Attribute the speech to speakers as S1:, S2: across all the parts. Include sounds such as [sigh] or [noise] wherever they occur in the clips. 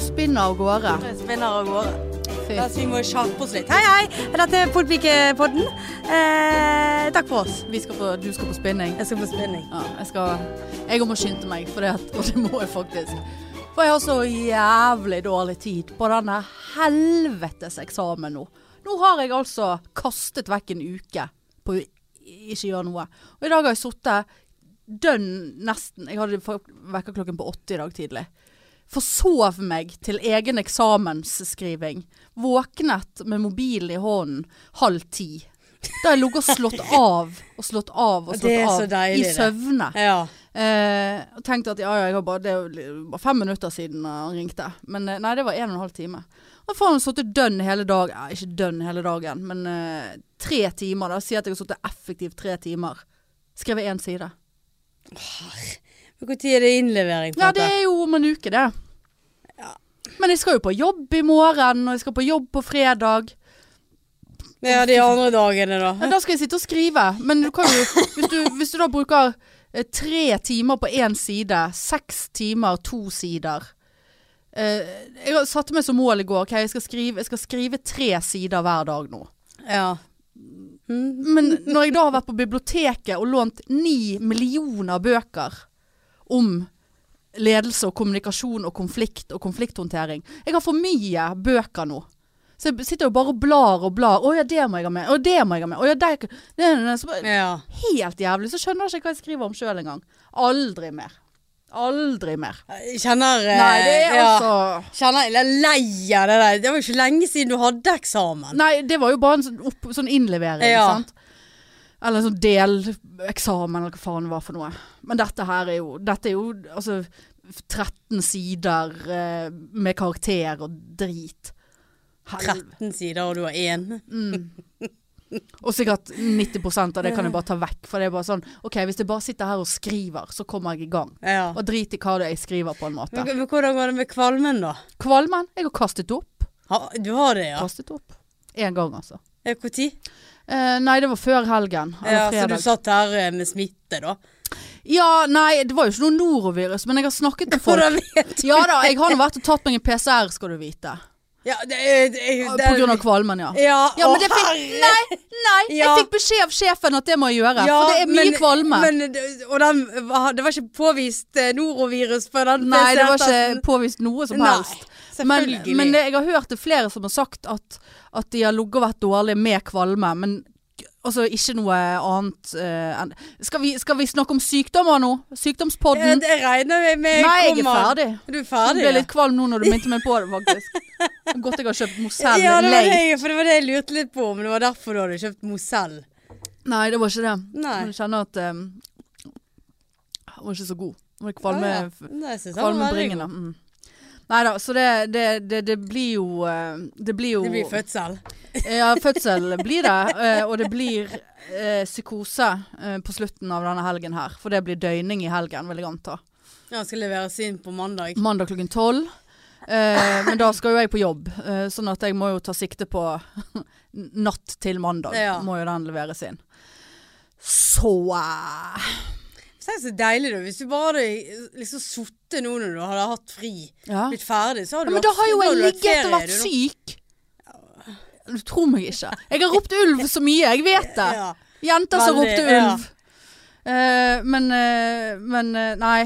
S1: spinner av gårde.
S2: Det spinner av gårde.
S1: Fy.
S2: Da, så vi må kjappe oss litt. Hei, hei! Dette er Podpikepodden. Eh, takk for oss.
S1: Vi skal på, du skal på spinning.
S2: Jeg skal på spinning.
S1: Ja, jeg skal Jeg må skynde meg, for det, at, og det må jeg faktisk. For jeg har så jævlig dårlig tid på denne helvetes eksamen nå. Nå har jeg altså kastet vekk en uke på å ikke gjøre noe. Og i dag har jeg sittet dønn nesten Jeg hadde fa- vekkerklokken på åtte i dag tidlig. Forsov meg til egen eksamensskriving. Våknet med mobilen i hånden halv ti. Da har jeg ligget og slått av og slått av og slått
S2: Det er
S1: av
S2: så deilig,
S1: i
S2: det.
S1: søvne.
S2: Ja.
S1: Eh, og tenkte at ja, ja, jeg har bare, det er jo li- bare fem minutter siden eh, han ringte. Men eh, nei, det var en og en halv time. Og faen, sittet dønn hele dagen. Ja, ikke dønn hele dagen, men eh, tre timer. Da Si at jeg har sittet effektivt tre timer. Skrevet én side.
S2: Når er det innlevering? på
S1: Ja, det
S2: dette?
S1: er jo om en uke, det. Men jeg skal jo på jobb i morgen, og jeg skal på jobb på fredag.
S2: ja, de andre dagene, da.
S1: Ja, da skal jeg sitte og skrive. Men du kan jo, hvis du, hvis du da bruker eh, tre timer på én side, seks timer to sider eh, Jeg har- satte meg som mål i går ok, jeg skal, skrive, jeg skal skrive tre sider hver dag nå.
S2: Ja. Mm.
S1: Men når jeg da har vært på biblioteket og lånt ni millioner bøker om ledelse og kommunikasjon og konflikt og konflikthåndtering Jeg har for mye bøker nå. Så jeg sitter jo bare og blar og blar. 'Å ja, det må jeg ha med.' 'Å, det må jeg ha med.' Å, ja, det, det, det, så, bare-
S2: ja.
S1: Helt jævlig. Så skjønner jeg ikke hva jeg skriver om sjøl engang. Aldri mer. Aldri mer.
S2: Jeg Kjenner eh,
S1: Nei, det er
S2: ja.
S1: altså
S2: Kjenner jeg er lei av det der. Det var jo ikke lenge siden du hadde eksamen.
S1: Nei, det var jo bare en sånn, opp, sånn innlevering,
S2: Ja.
S1: sant? Eller en sånn deleksamen, eller hva faen det var for noe. Men dette her er jo Dette er jo altså 13 sider eh, med karakter og drit. Helv-
S2: 13 sider, og du har én.
S1: Og sikkert 90 av det kan jeg bare ta vekk. For det er bare sånn OK, hvis jeg bare sitter her og skriver, så kommer jeg i gang.
S2: Ja.
S1: Og drit i hva det er jeg skriver, på en måte.
S2: Men, men hvordan går det med kvalmen, da?
S1: Kvalmen. Jeg har kastet opp.
S2: Ha, du har det, ja?
S1: kastet opp. Én gang, altså.
S2: Når?
S1: Eh, nei, det var før helgen. Eller
S2: Ja, så
S1: fredag.
S2: du satt her eh, med smitte, da?
S1: Ja, nei, det var jo ikke noe norovirus, men jeg har snakket
S2: [laughs]
S1: med folk.
S2: Hvordan vet du?
S1: Ja da, jeg har nå vært og tatt meg en PCR, skal du vite.
S2: Ja, det, er- det, er- det,
S1: På grunn av kvalmen, ja.
S2: Ja,
S1: Ja, men
S2: å,
S1: det fikk
S2: herre-
S1: Nei, nei!
S2: Ja.
S1: Jeg fikk beskjed av sjefen at det må jeg gjøre,
S2: Ja,
S1: for det er mye
S2: men-
S1: kvalme.
S2: Men, det- og den, var- det var ikke påvist eh, norovirus på den
S1: nei, det var
S2: PCR-testen?
S1: ikke påvist noe som
S2: Nei,
S1: helst. Men,
S2: Selvfølgelig.
S1: men det, jeg har hørt det flere som har sagt at, at de har ligget og vært dårlige med kvalme, men k- altså ikke noe annet eh, enn skal, vi- skal vi snakke om sykdommer nå?
S2: Ja,
S1: Sykdomspodden?
S2: det regner vi med
S1: Nei, jeg er
S2: kommer.
S1: ferdig.
S2: Du er
S1: Jeg
S2: ferdig?
S1: ble litt kvalm nå
S2: [laughs]
S1: når du minte meg på det, faktisk. Godt jeg har kjøpt
S2: ja,
S1: Mozell
S2: ja det, var
S1: Lay.
S2: det, jeg- for det var det jeg lurte litt på, om det var derfor du hadde kjøpt Mozell.
S1: Nei, det var ikke det.
S2: Nei.
S1: Men jeg kjenner at um, Den var ikke så god. Den var kvalme,
S2: Ja, ja. Nei, jeg synes han var veldig god.
S1: kvalmebringende. Mm. Nei da, så det, det, det, det blir jo eh, Det blir jo
S2: Det blir fødsel.
S1: [laughs] Ja, fødsel blir det. eh, Og det blir eh, psykose eh, på slutten av denne helgen her. For det blir døgning i helgen, vil jeg anta.
S2: Ja, han skal leveres inn på mandag.
S1: mandag klokken tolv. Eh, men da skal jo jeg på jobb, eh, sånn at jeg må jo ta sikte på [laughs] natt til mandag.
S2: Ja.
S1: Må jo den leveres inn. Så eh,
S2: Tenk så deilig da, hvis du bare hadde liksom sittet nå når du hadde hatt fri,
S1: ja.
S2: blitt ferdig, så
S1: Ja,
S2: hadde du
S1: Men da har jo jeg
S2: hadde du hatt
S1: ligget og
S2: ferie,
S1: vært
S2: du, da.
S1: syk. Du tror meg ikke. Jeg har ropt ulv så mye, jeg vet det.
S2: Ja.
S1: Jenter som
S2: Veldig,
S1: ropte
S2: ja.
S1: ulv. Eh, men eh, men eh, nei.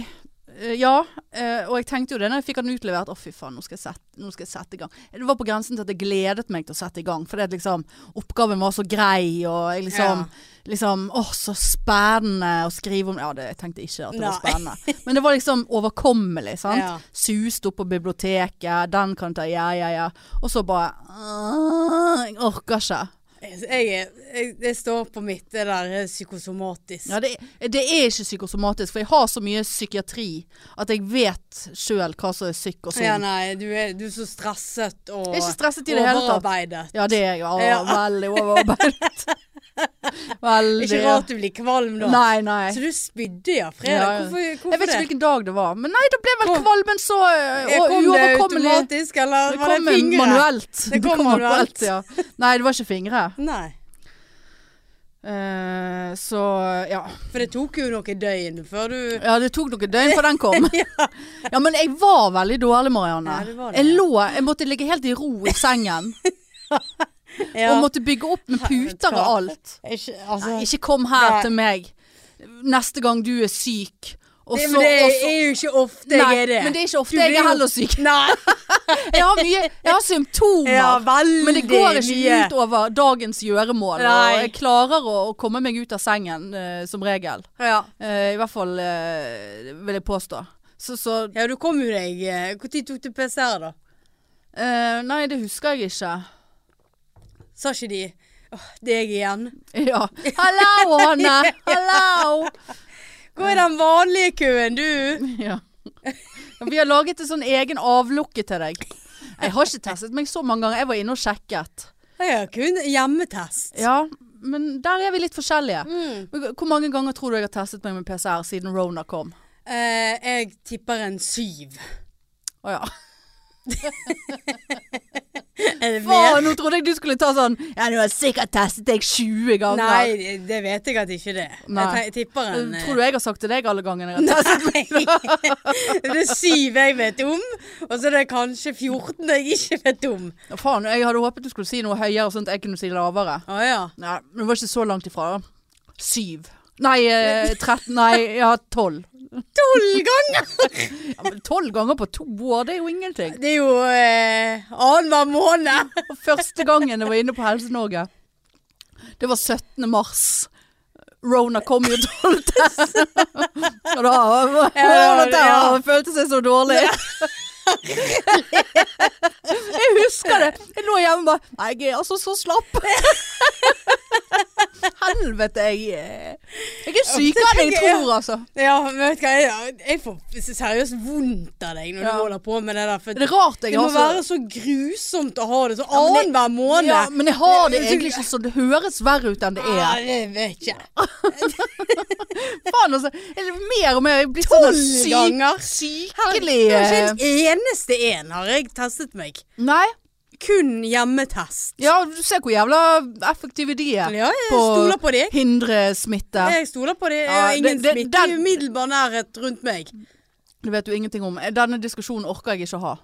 S1: Eh, ja, eh, og jeg tenkte jo det når jeg fikk den utlevert. Å, fy faen, nå skal, jeg sette, nå skal jeg sette i gang. Det var på grensen til at jeg gledet meg til å sette i gang. For det at liksom, oppgaven var så grei, og jeg liksom,
S2: Ja.
S1: liksom Å, så spennende å skrive om Ja, det, jeg tenkte ikke at det var
S2: Nei.
S1: spennende. Men det var liksom overkommelig, sant.
S2: Ja.
S1: Sust opp på biblioteket, den kan ta ja, ja, ja. Og så bare «Åh, Jeg orker ikke.
S2: Jeg, jeg, jeg, jeg står på mitt, det der er psykosomatisk.
S1: Ja, det, det er ikke psykosomatisk, for jeg har så mye psykiatri at jeg vet sjøl hva som er psyk og
S2: Ja,
S1: sånn.
S2: nei, du er, du er så stresset og
S1: Jeg er ikke stresset i det hele tatt.
S2: overarbeidet.
S1: Ja, det er jeg. Å,
S2: Ja.
S1: Veldig
S2: [laughs]
S1: overarbeidet. Veldig.
S2: Ikke rart du blir kvalm da.
S1: Nei, nei.
S2: Så du spydde ja fredag.
S1: Ja, ja.
S2: Hvorfor, hvorfor
S1: Jeg vet ikke
S2: det?
S1: hvilken dag det var, men nei, da ble vel
S2: Kom.
S1: kvalmen så eh,
S2: Jeg kom det
S1: uoverkommelig.
S2: automatisk, eller
S1: Det
S2: var
S1: kom
S2: det fingre?
S1: manuelt.
S2: Det kom manuelt.
S1: ja. Nei, det var ikke fingre.
S2: Nei.
S1: Eh, så ja.
S2: For det tok jo noen døgn før du
S1: Ja, det tok noen døgn før den
S2: [laughs]
S1: kom. Ja, men jeg var veldig dårlig, Marianne.
S2: Ja, du var det.
S1: Jeg lå Jeg måtte ligge helt i ro i
S2: [laughs]
S1: sengen. Og måtte bygge opp med puter og alt.
S2: Ikke, altså,
S1: Nei, ikke kom her
S2: Nei.
S1: til meg neste gang du er syk. Og
S2: det,
S1: så-
S2: men det
S1: og så-
S2: er jo ikke ofte
S1: Nei,
S2: jeg er det.
S1: men det er ikke ofte
S2: Du
S1: jeg
S2: blir
S1: er
S2: jo-
S1: heller syk. [laughs]
S2: Nei,
S1: Jeg har, mye, jeg har symptomer,
S2: [laughs] ja, veldig
S1: men det går ikke
S2: mye.
S1: ut over dagens gjøremål. Og
S2: Nei.
S1: jeg klarer å, å komme meg ut av sengen, eh, som regel.
S2: Ja.
S1: Eh, I hvert fall eh, vil jeg påstå. Så, så
S2: ja, du kom jo deg eh, Hvor tid tok du PCR, da?
S1: eh, Nei, det husker jeg ikke. [laughs]
S2: Sa ikke de Åh, deg igjen?
S1: Ja. Hallo, Hanne! Hallo!
S2: Hvor er den vanlige køen, du?
S1: [laughs] Ja. Ja, Vi har laget en sånn egen avlukke til deg. Jeg har ikke testet meg så mange ganger. Jeg var inne og sjekket.
S2: Jeg har kun hjemmetest.
S1: Ja, men der er vi litt forskjellige.
S2: Mm.
S1: Hvor mange ganger tror du jeg har testet meg med PCR siden Rona kom?
S2: Eh, jeg tipper en syv.
S1: Å [laughs] ja.
S2: Er det
S1: Faen, nå trodde jeg du skulle ta sånn Ja, du har sikkert testet deg 20 ganger.
S2: Nei, det- det vet jeg at ikke det.
S1: Nei.
S2: Jeg te- tipper en eh,
S1: Tror du jeg har sagt til deg alle gangene jeg har testet?
S2: [laughs] Nei.
S1: [laughs]
S2: Det er syv jeg vet om, og så er det kanskje 14 jeg ikke vet om.
S1: Ja, Faen, jeg hadde håpet du skulle si noe høyere, sånn at jeg kunne si lavere.
S2: Å ja.
S1: Nei, men det var ikke så langt ifra. da. Syv. Nei, eh, 13 Nei, ja, tolv.
S2: Tolv ganger!
S1: Ja, men Tolv ganger på to år, det er jo ingenting.
S2: Det er jo eh, annenhver måned.
S1: Og Første gangen jeg var inne på Helse-Norge, det var 17. mars. Rona kom jo 12. [laughs] Og da,
S2: Ja,
S1: da
S2: ja.
S1: jeg følte seg så dårlig. [laughs] Jeg husker det. Jeg lå hjemme og bare Nei, jeg er altså så slapp. Helvete, jeg er- Jeg er sykere enn jeg tror, altså.
S2: Ja, men vet du hva, jeg, jeg får seriøst vondt av deg når
S1: Ja.
S2: du holder på med det der. For
S1: Det er rart jeg
S2: det
S1: har
S2: må
S1: så
S2: være så grusomt å ha det sånn
S1: men jeg-
S2: annenhver måned.
S1: ja, Men jeg har det egentlig ikke sånn. Det høres verre ut enn det er.
S2: Ja, det vet jeg.
S1: Altså, Faen, altså. Eller mer og mer. Jeg blir sånn
S2: Tolv
S1: syk-
S2: ganger.
S1: Sykelig
S2: Det er
S1: eh,
S2: ikke en eneste en har jeg testet meg.
S1: Nei.
S2: Kun hjemmetest.
S1: Ja, du ser hvor jævla effektive de er.
S2: Ja, jeg
S1: På-
S2: stoler på deg.
S1: Hindre smitte.
S2: Jeg stoler på det. Jeg
S1: Ja,
S2: har
S1: det-
S2: ingen
S1: det-
S2: smitte
S1: den-
S2: i umiddelbar nærhet rundt meg.
S1: Det vet du ingenting om. Denne diskusjonen orker jeg ikke å ha.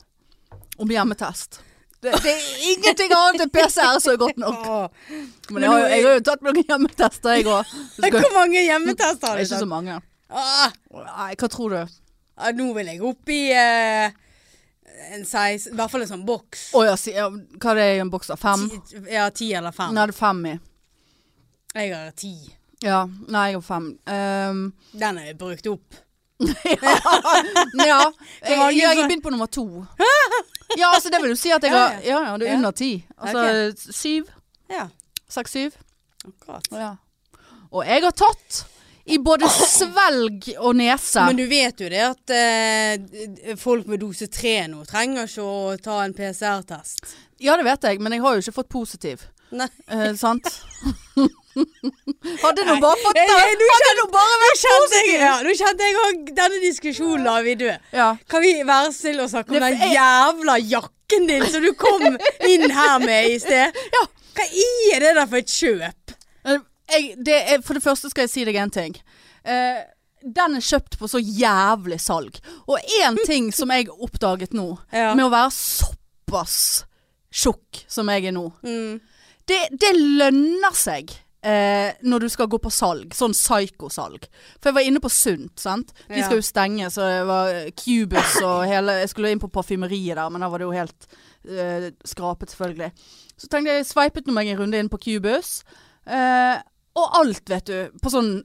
S1: Om hjemmetest. Det, det er ingenting annet enn PCR som er godt
S2: [laughs]
S1: nok. Men jeg har, jo- jeg har jo tatt noen hjemmetester, jeg òg. Det
S2: Hvor mange hjemmetester har du
S1: ikke så
S2: tatt?
S1: mange.
S2: Ah,
S1: Nei, hva tror du?
S2: ah, nå vil jeg opp i eh, en 16 I hvert fall en sånn boks.
S1: Å ja, si- ja, hva er det i en boks av? Fem?
S2: Ti, ja, ti eller fem.
S1: Nei, det er fem i.
S2: Jeg har ti.
S1: Ja. Nei, jeg har fem. Um,
S2: Den er brukt opp. [laughs]
S1: Ja, jeg,
S2: mange
S1: jeg
S2: som-
S1: begynte på nummer
S2: [laughs]
S1: to. Ja, altså det vil jo si at jeg
S2: Ja,
S1: har
S2: ja.
S1: Ja, ja, det er
S2: Ja.
S1: under ti. Altså syv.
S2: Ja,
S1: Seks-syv.
S2: akkurat.
S1: Ja. Og jeg har tatt i både svelg og nese.
S2: Men du vet jo det at eh, folk med dose tre nå trenger ikke å ta en PCR-test.
S1: Ja, det vet jeg, men jeg har jo ikke fått positiv.
S2: Nei.
S1: Eh,
S2: [laughs]
S1: sant? hadde nå bare fått
S2: Nei,
S1: det!
S2: nei, nå
S1: Hadde nå bare vært
S2: Kjente jeg, ja, nå kjente jeg òg denne diskusjonen lar vi dø.
S1: Ja.
S2: Kan vi være snill og snakke om
S1: Det-
S2: den jævla jakken din som du kom inn her med i sted?
S1: Ja.
S2: Hva er det der for et kjøp?
S1: Eh, Jeg, det er, for det første skal jeg si deg en ting. Eh, den er kjøpt på så jævlig salg. Og én ting som jeg oppdaget nå,
S2: Ja.
S1: med å være såpass tjukk som jeg er nå,
S2: Mm.
S1: det, det lønner seg. Eh, når du skal gå på salg, sånn psykosalg. For jeg var inne på Sunt, sant. De
S2: Ja.
S1: skal jo stenge, så det var eh, Cubus og hele Jeg skulle inn på parfymeriet der, men der var det jo helt eh, skrapet, selvfølgelig. Så tenkte jeg, sveipet nå meg en runde inn på Cubus. Eh, og alt, vet du, på sånn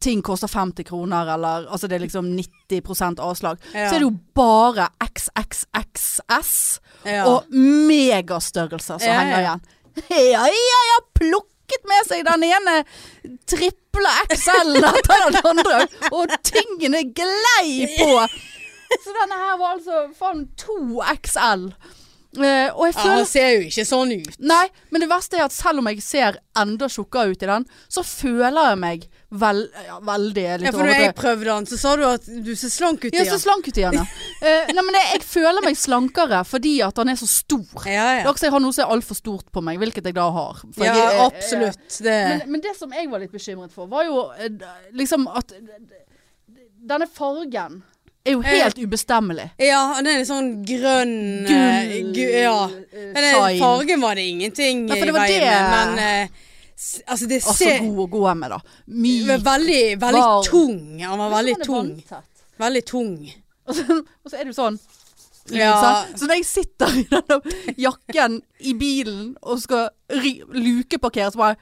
S1: ting koster 50 kroner, eller altså det er liksom 90 avslag.
S2: Ja.
S1: Så er det jo bare XXXS
S2: Ja.
S1: og megastørrelser som
S2: Ja, ja.
S1: henger igjen. [laughs] Ja, ja, ja, plukket med seg den ene triple XL etter den andre, og tingene glei
S2: [laughs]
S1: på. Så denne her var altså faen 2XL. Eh, og jeg
S2: Ja,
S1: føler
S2: han ser jo ikke sånn ut.
S1: Nei, men det verste er at selv om jeg ser enda tjukkere ut i den, så føler jeg meg Vel, ja, veldig er litt
S2: Ja, for når jeg
S1: overdrevet.
S2: prøvde den, så sa du at du ser slank ut
S1: Ja, så
S2: igjen.
S1: slank ut
S2: [laughs]
S1: igjen, ja. Eh, nei, men jeg, jeg føler meg slankere fordi at han er så stor.
S2: Ja,
S1: Det er
S2: ja.
S1: også jeg har noe som er altfor stort på meg, hvilket jeg da har. For
S2: ja eh,
S1: jeg, er- eh.
S2: absolutt. Det.
S1: Men, men det som jeg var litt bekymret for, var jo eh, liksom at eh, denne fargen er
S2: Eh.
S1: jo helt ubestemmelig.
S2: Ja, den er litt sånn grønn eh,
S1: Gull
S2: gu- Ja.
S1: eh,
S2: Men eh,
S1: shine.
S2: fargen var det ingenting
S1: Nei, for
S2: i
S1: det var
S2: veien
S1: det-
S2: med, men eh, s- altså det
S1: Altså
S2: ser
S1: god å gå med, da. Myk.
S2: Men veldig, veldig
S1: Var-
S2: tung. Han var veldig
S1: Men så var
S2: tung.
S1: det sånn vanntett. [laughs]
S2: Veldig tung.
S1: Og så, og så er det jo sånn.
S2: Ja.
S1: Så når jeg sitter i denne jakken i bilen og skal ry lukeparkere, så
S2: [laughs]
S1: bare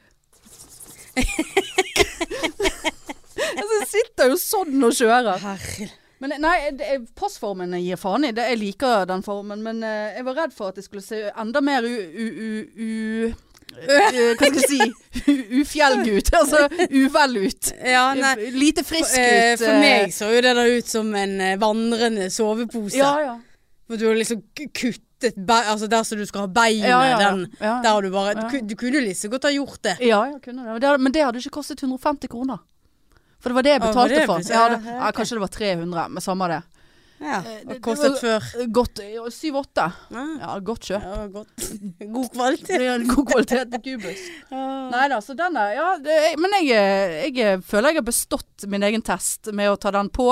S1: [laughs] Altså, jeg sitter jo sånn og kjører.
S2: Herregud.
S1: Men nei, det er, passformen jeg gir faen i. Det, jeg liker den formen, men eh, jeg var redd for at det skulle se enda mer u... u, u,
S2: [laughs]
S1: u eh, hva skal jeg si? U- Ufjelg ut. Altså uvel ut.
S2: Ja, nei.
S1: Lite frisk ut.
S2: Eh, For
S1: eh,
S2: meg så jo det der ut som en eh, vandrende sovepose.
S1: Ja, ja.
S2: For du har liksom k- kuttet be Altså der som du skal ha beinet,
S1: Ja, ja, ja.
S2: den
S1: Ja, ja.
S2: Der har du bare
S1: Ja.
S2: du, ku- du kunne jo like så godt ha gjort det.
S1: Ja, jeg kunne det. Men det hadde- Men det hadde ikke kostet 150 kroner. For det var det jeg
S2: Ja, var
S1: betalte
S2: det
S1: for.
S2: det-
S1: Jeg hadde,
S2: ja,
S1: ja, kanskje det var 300, men samme det.
S2: Ja,
S1: det-
S2: og
S1: det
S2: kostet
S1: var-
S2: før.
S1: Godt, 7-8.
S2: Ja,
S1: Ja, godt kjøp.
S2: det var godt. [laughs] God kvalitet.
S1: Det er en god kvalitet på kubus.
S2: Ja.
S1: Nei da, så den er ja, det, jeg, Men jeg, eh, jeg føler jeg har bestått min egen test med å ta den på.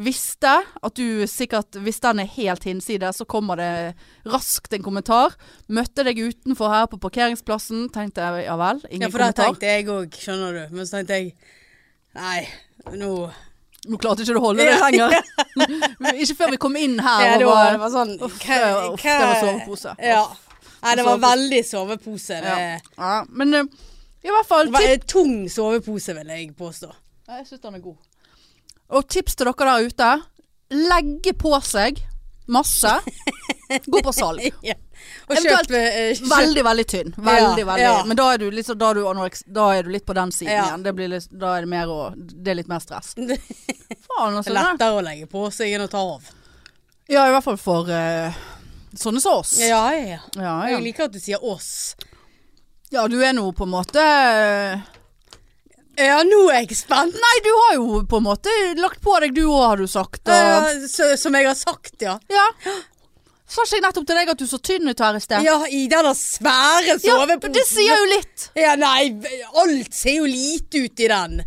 S1: Visste at du sikkert Hvis den er helt hinside, så kommer det raskt en kommentar. Møtte deg utenfor her på parkeringsplassen. Tenkte jeg ja vel, ingen
S2: Ja, for der
S1: kommentar.
S2: tenkte jeg òg, skjønner du. Men så tenkte jeg Nei, nå
S1: Nå klarte ikke du å holde det
S2: Ja,
S1: lenger.
S2: [laughs]
S1: [laughs] ikke før vi kom inn her.
S2: Ja, det
S1: og
S2: var,
S1: var,
S2: det var sånn
S1: uff,
S2: hva-
S1: det var- uff, det
S2: hva-
S1: var sovepose.
S2: Ja. Nei, det var
S1: Sovepose.
S2: veldig sovepose. Det,
S1: ja. ja, men eh, i hvert fall
S2: det var en tung sovepose, vil jeg påstå.
S1: Ja, jeg syns den er god. Og tips til dere der ute. Legge på seg
S2: [laughs]
S1: masse. Gå på salg.
S2: Ja. Og
S1: Eventuelt
S2: kjøpe eh, kjøp-
S1: Veldig, veldig tynn. Veldig,
S2: Ja,
S1: veldig.
S2: ja.
S1: Men da er, du litt, så- da, er du anoreks, da er du litt på den siden
S2: Ja.
S1: igjen. Det blir litt, da er det, mer å, det er litt mer
S2: [laughs]
S1: stress. Faen, altså. det-
S2: Lettere å legge på seg enn å ta av.
S1: Ja, i hvert fall for eh, sånne som oss.
S2: Ja, ja, ja.
S1: Ja,
S2: Jeg
S1: ja.
S2: liker at du sier oss.
S1: ja, du er nå på en måte eh,
S2: Ja, nå er jeg spent.
S1: Nei, du har jo på en måte lagt på deg, du òg, har du sagt. Og,
S2: Ja, så- som jeg har sagt, ja.
S1: ja. Sa ikke jeg nettopp til deg at du så tynn ut her i sted?
S2: Ja, i den der svære
S1: Ja,
S2: soveposen.
S1: men det sier jo litt.
S2: Ja, nei, alt ser jo lite ut i den.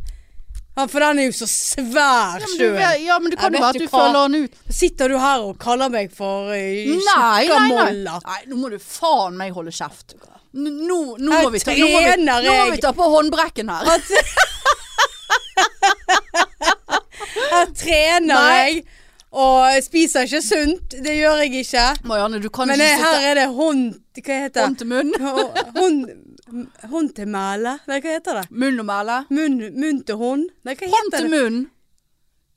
S2: Ja, for den er jo så svær
S1: Ja, men du,
S2: sjøl.
S1: vet- ja, men det kan
S2: Jeg
S1: jo
S2: vet
S1: være at
S2: jo
S1: du
S2: hva-
S1: følger han ut.
S2: Sitter du her og kaller meg for eh,
S1: Nei,
S2: tjukka
S1: nei, nei.
S2: molla?
S1: nei, nå må du faen meg holde kjeft. N- Nå, nå,
S2: Jeg
S1: må, vi ta, nå, må, vi,
S2: trener,
S1: nå må vi
S2: jeg.
S1: ta på håndbrekken her.
S2: [laughs] Her trener
S1: Nei.
S2: jeg og jeg spiser ikke sunt. Det gjør jeg ikke.
S1: Marianne, du kan
S2: Men
S1: ikke
S2: eh,
S1: sitte
S2: her er det hånd... Hva heter det?
S1: hånd til munn.
S2: Hånd, hånd til mæle? Nei, hva heter det?
S1: Munn og mæle.
S2: Munn, munn til hånd? Nei, hva
S1: Hånd
S2: heter
S1: til
S2: det?
S1: munn.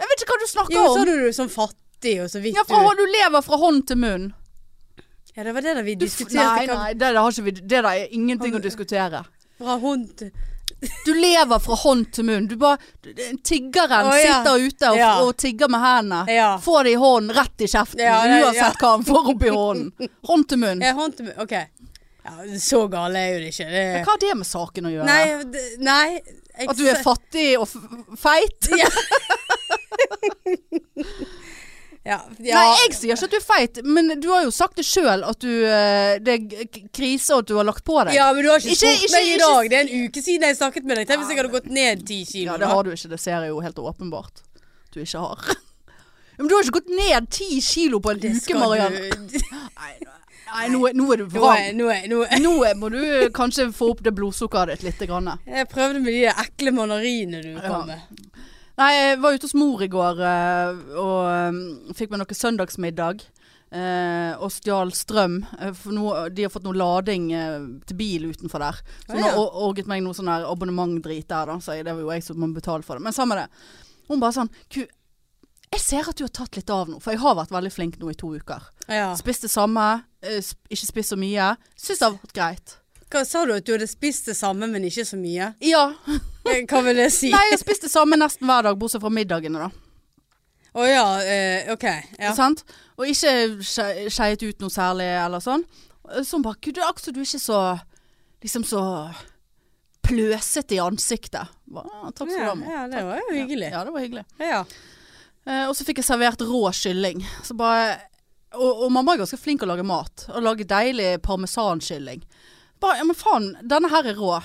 S1: Jeg vet ikke hva du
S2: Jo,
S1: snakker
S2: så
S1: om.
S2: du er sånn fattig og så vidt
S1: Ja, fra, hånd- du lever fra hånd til munn.
S2: du Ja, det var det da vi
S1: Du,
S2: diskuterte.
S1: nei,
S2: hva-
S1: nei, det der, har ikke vi, det der er ingenting å diskutere.
S2: Fra hånd til
S1: Du lever fra hånd til munn. Du bare, du- tiggeren
S2: Å, ja.
S1: sitter ute og,
S2: Ja.
S1: og tigger med hendene.
S2: Ja.
S1: Får det i hånden, rett i kjeften.
S2: Ja, det-
S1: uansett
S2: ja.
S1: hva han får opp i hånden. Hånd til munn.
S2: Ja, hånd til OK. Ja, så gale er jo det ikke. Det,
S1: Men Hva har det med saken å gjøre?
S2: nei, det, nei jeg,
S1: At du er fattig og f- feit?
S2: Ja, ja.
S1: Nei, jeg sier ikke at du er feit, men du har jo sagt det sjøl at du eh, Det er g- k- krise og at du har lagt på deg.
S2: Ja, men du har ikke,
S1: Ikke-
S2: spurt
S1: ikke-
S2: meg i
S1: ikke-
S2: dag. Det er en uke siden jeg snakket med deg. Tenk hvis jeg hadde gått ned ti kilo.
S1: Ja, det har du ikke. Det ser jeg jo helt åpenbart du ikke har. [laughs] Men du har ikke gått ned ti kilo på en
S2: Det
S1: uke,
S2: skal du-
S1: Mariann. Nei, nei, nå er, nå er du
S2: Nå
S1: vrang.
S2: er, nå er, nå er.
S1: Nå må du kanskje få opp det blodsukkeret ditt litt. Grann.
S2: Jeg prøvde med de der ekle mandarinene du
S1: Ja.
S2: kom med.
S1: Nei, jeg var ute hos mor i går eh, og eh, fikk meg noe søndagsmiddag. eh, og stjal strøm. eh, for nå- de har fått noe lading eh, til bil utenfor der. Så
S2: Å,
S1: hun
S2: ja.
S1: har or- orget meg noe sånn her abonnementdrit der, da. Så jeg, det var jo jeg som må betale for det. Men samme det. Hun bare sånn Ku, jeg ser at du har tatt litt av nå, for jeg har vært veldig flink nå i to uker.
S2: Ja.
S1: Spist det samme, eh, sp ikke spist så mye. Syns det har vært greit.
S2: Hva sa du at du hadde spist det samme, men ikke så mye?
S1: Ja.
S2: Eh, Hva vil det si?
S1: Nei, jeg har spist det samme nesten hver dag, bortsett fra middagene, da.
S2: Å ja, eh, OK. Ja.
S1: sant? Og ikke skje- skeiet ut noe særlig eller sånn. Så hun bare, gud, det er akkurat du er ikke så, liksom så pløsete i ansiktet. Ba, ah, takk skal du
S2: Ja,
S1: ha, mor.
S2: ja, det
S1: Takk.
S2: var jo hyggelig.
S1: Ja, det var hyggelig.
S2: Ja.
S1: Eh, og så fikk jeg servert rå kylling. Så bare, og, og mamma er ganske flink å lage mat. Å lage deilig parmesankylling. Bare, ja, men faen, denne her er rå.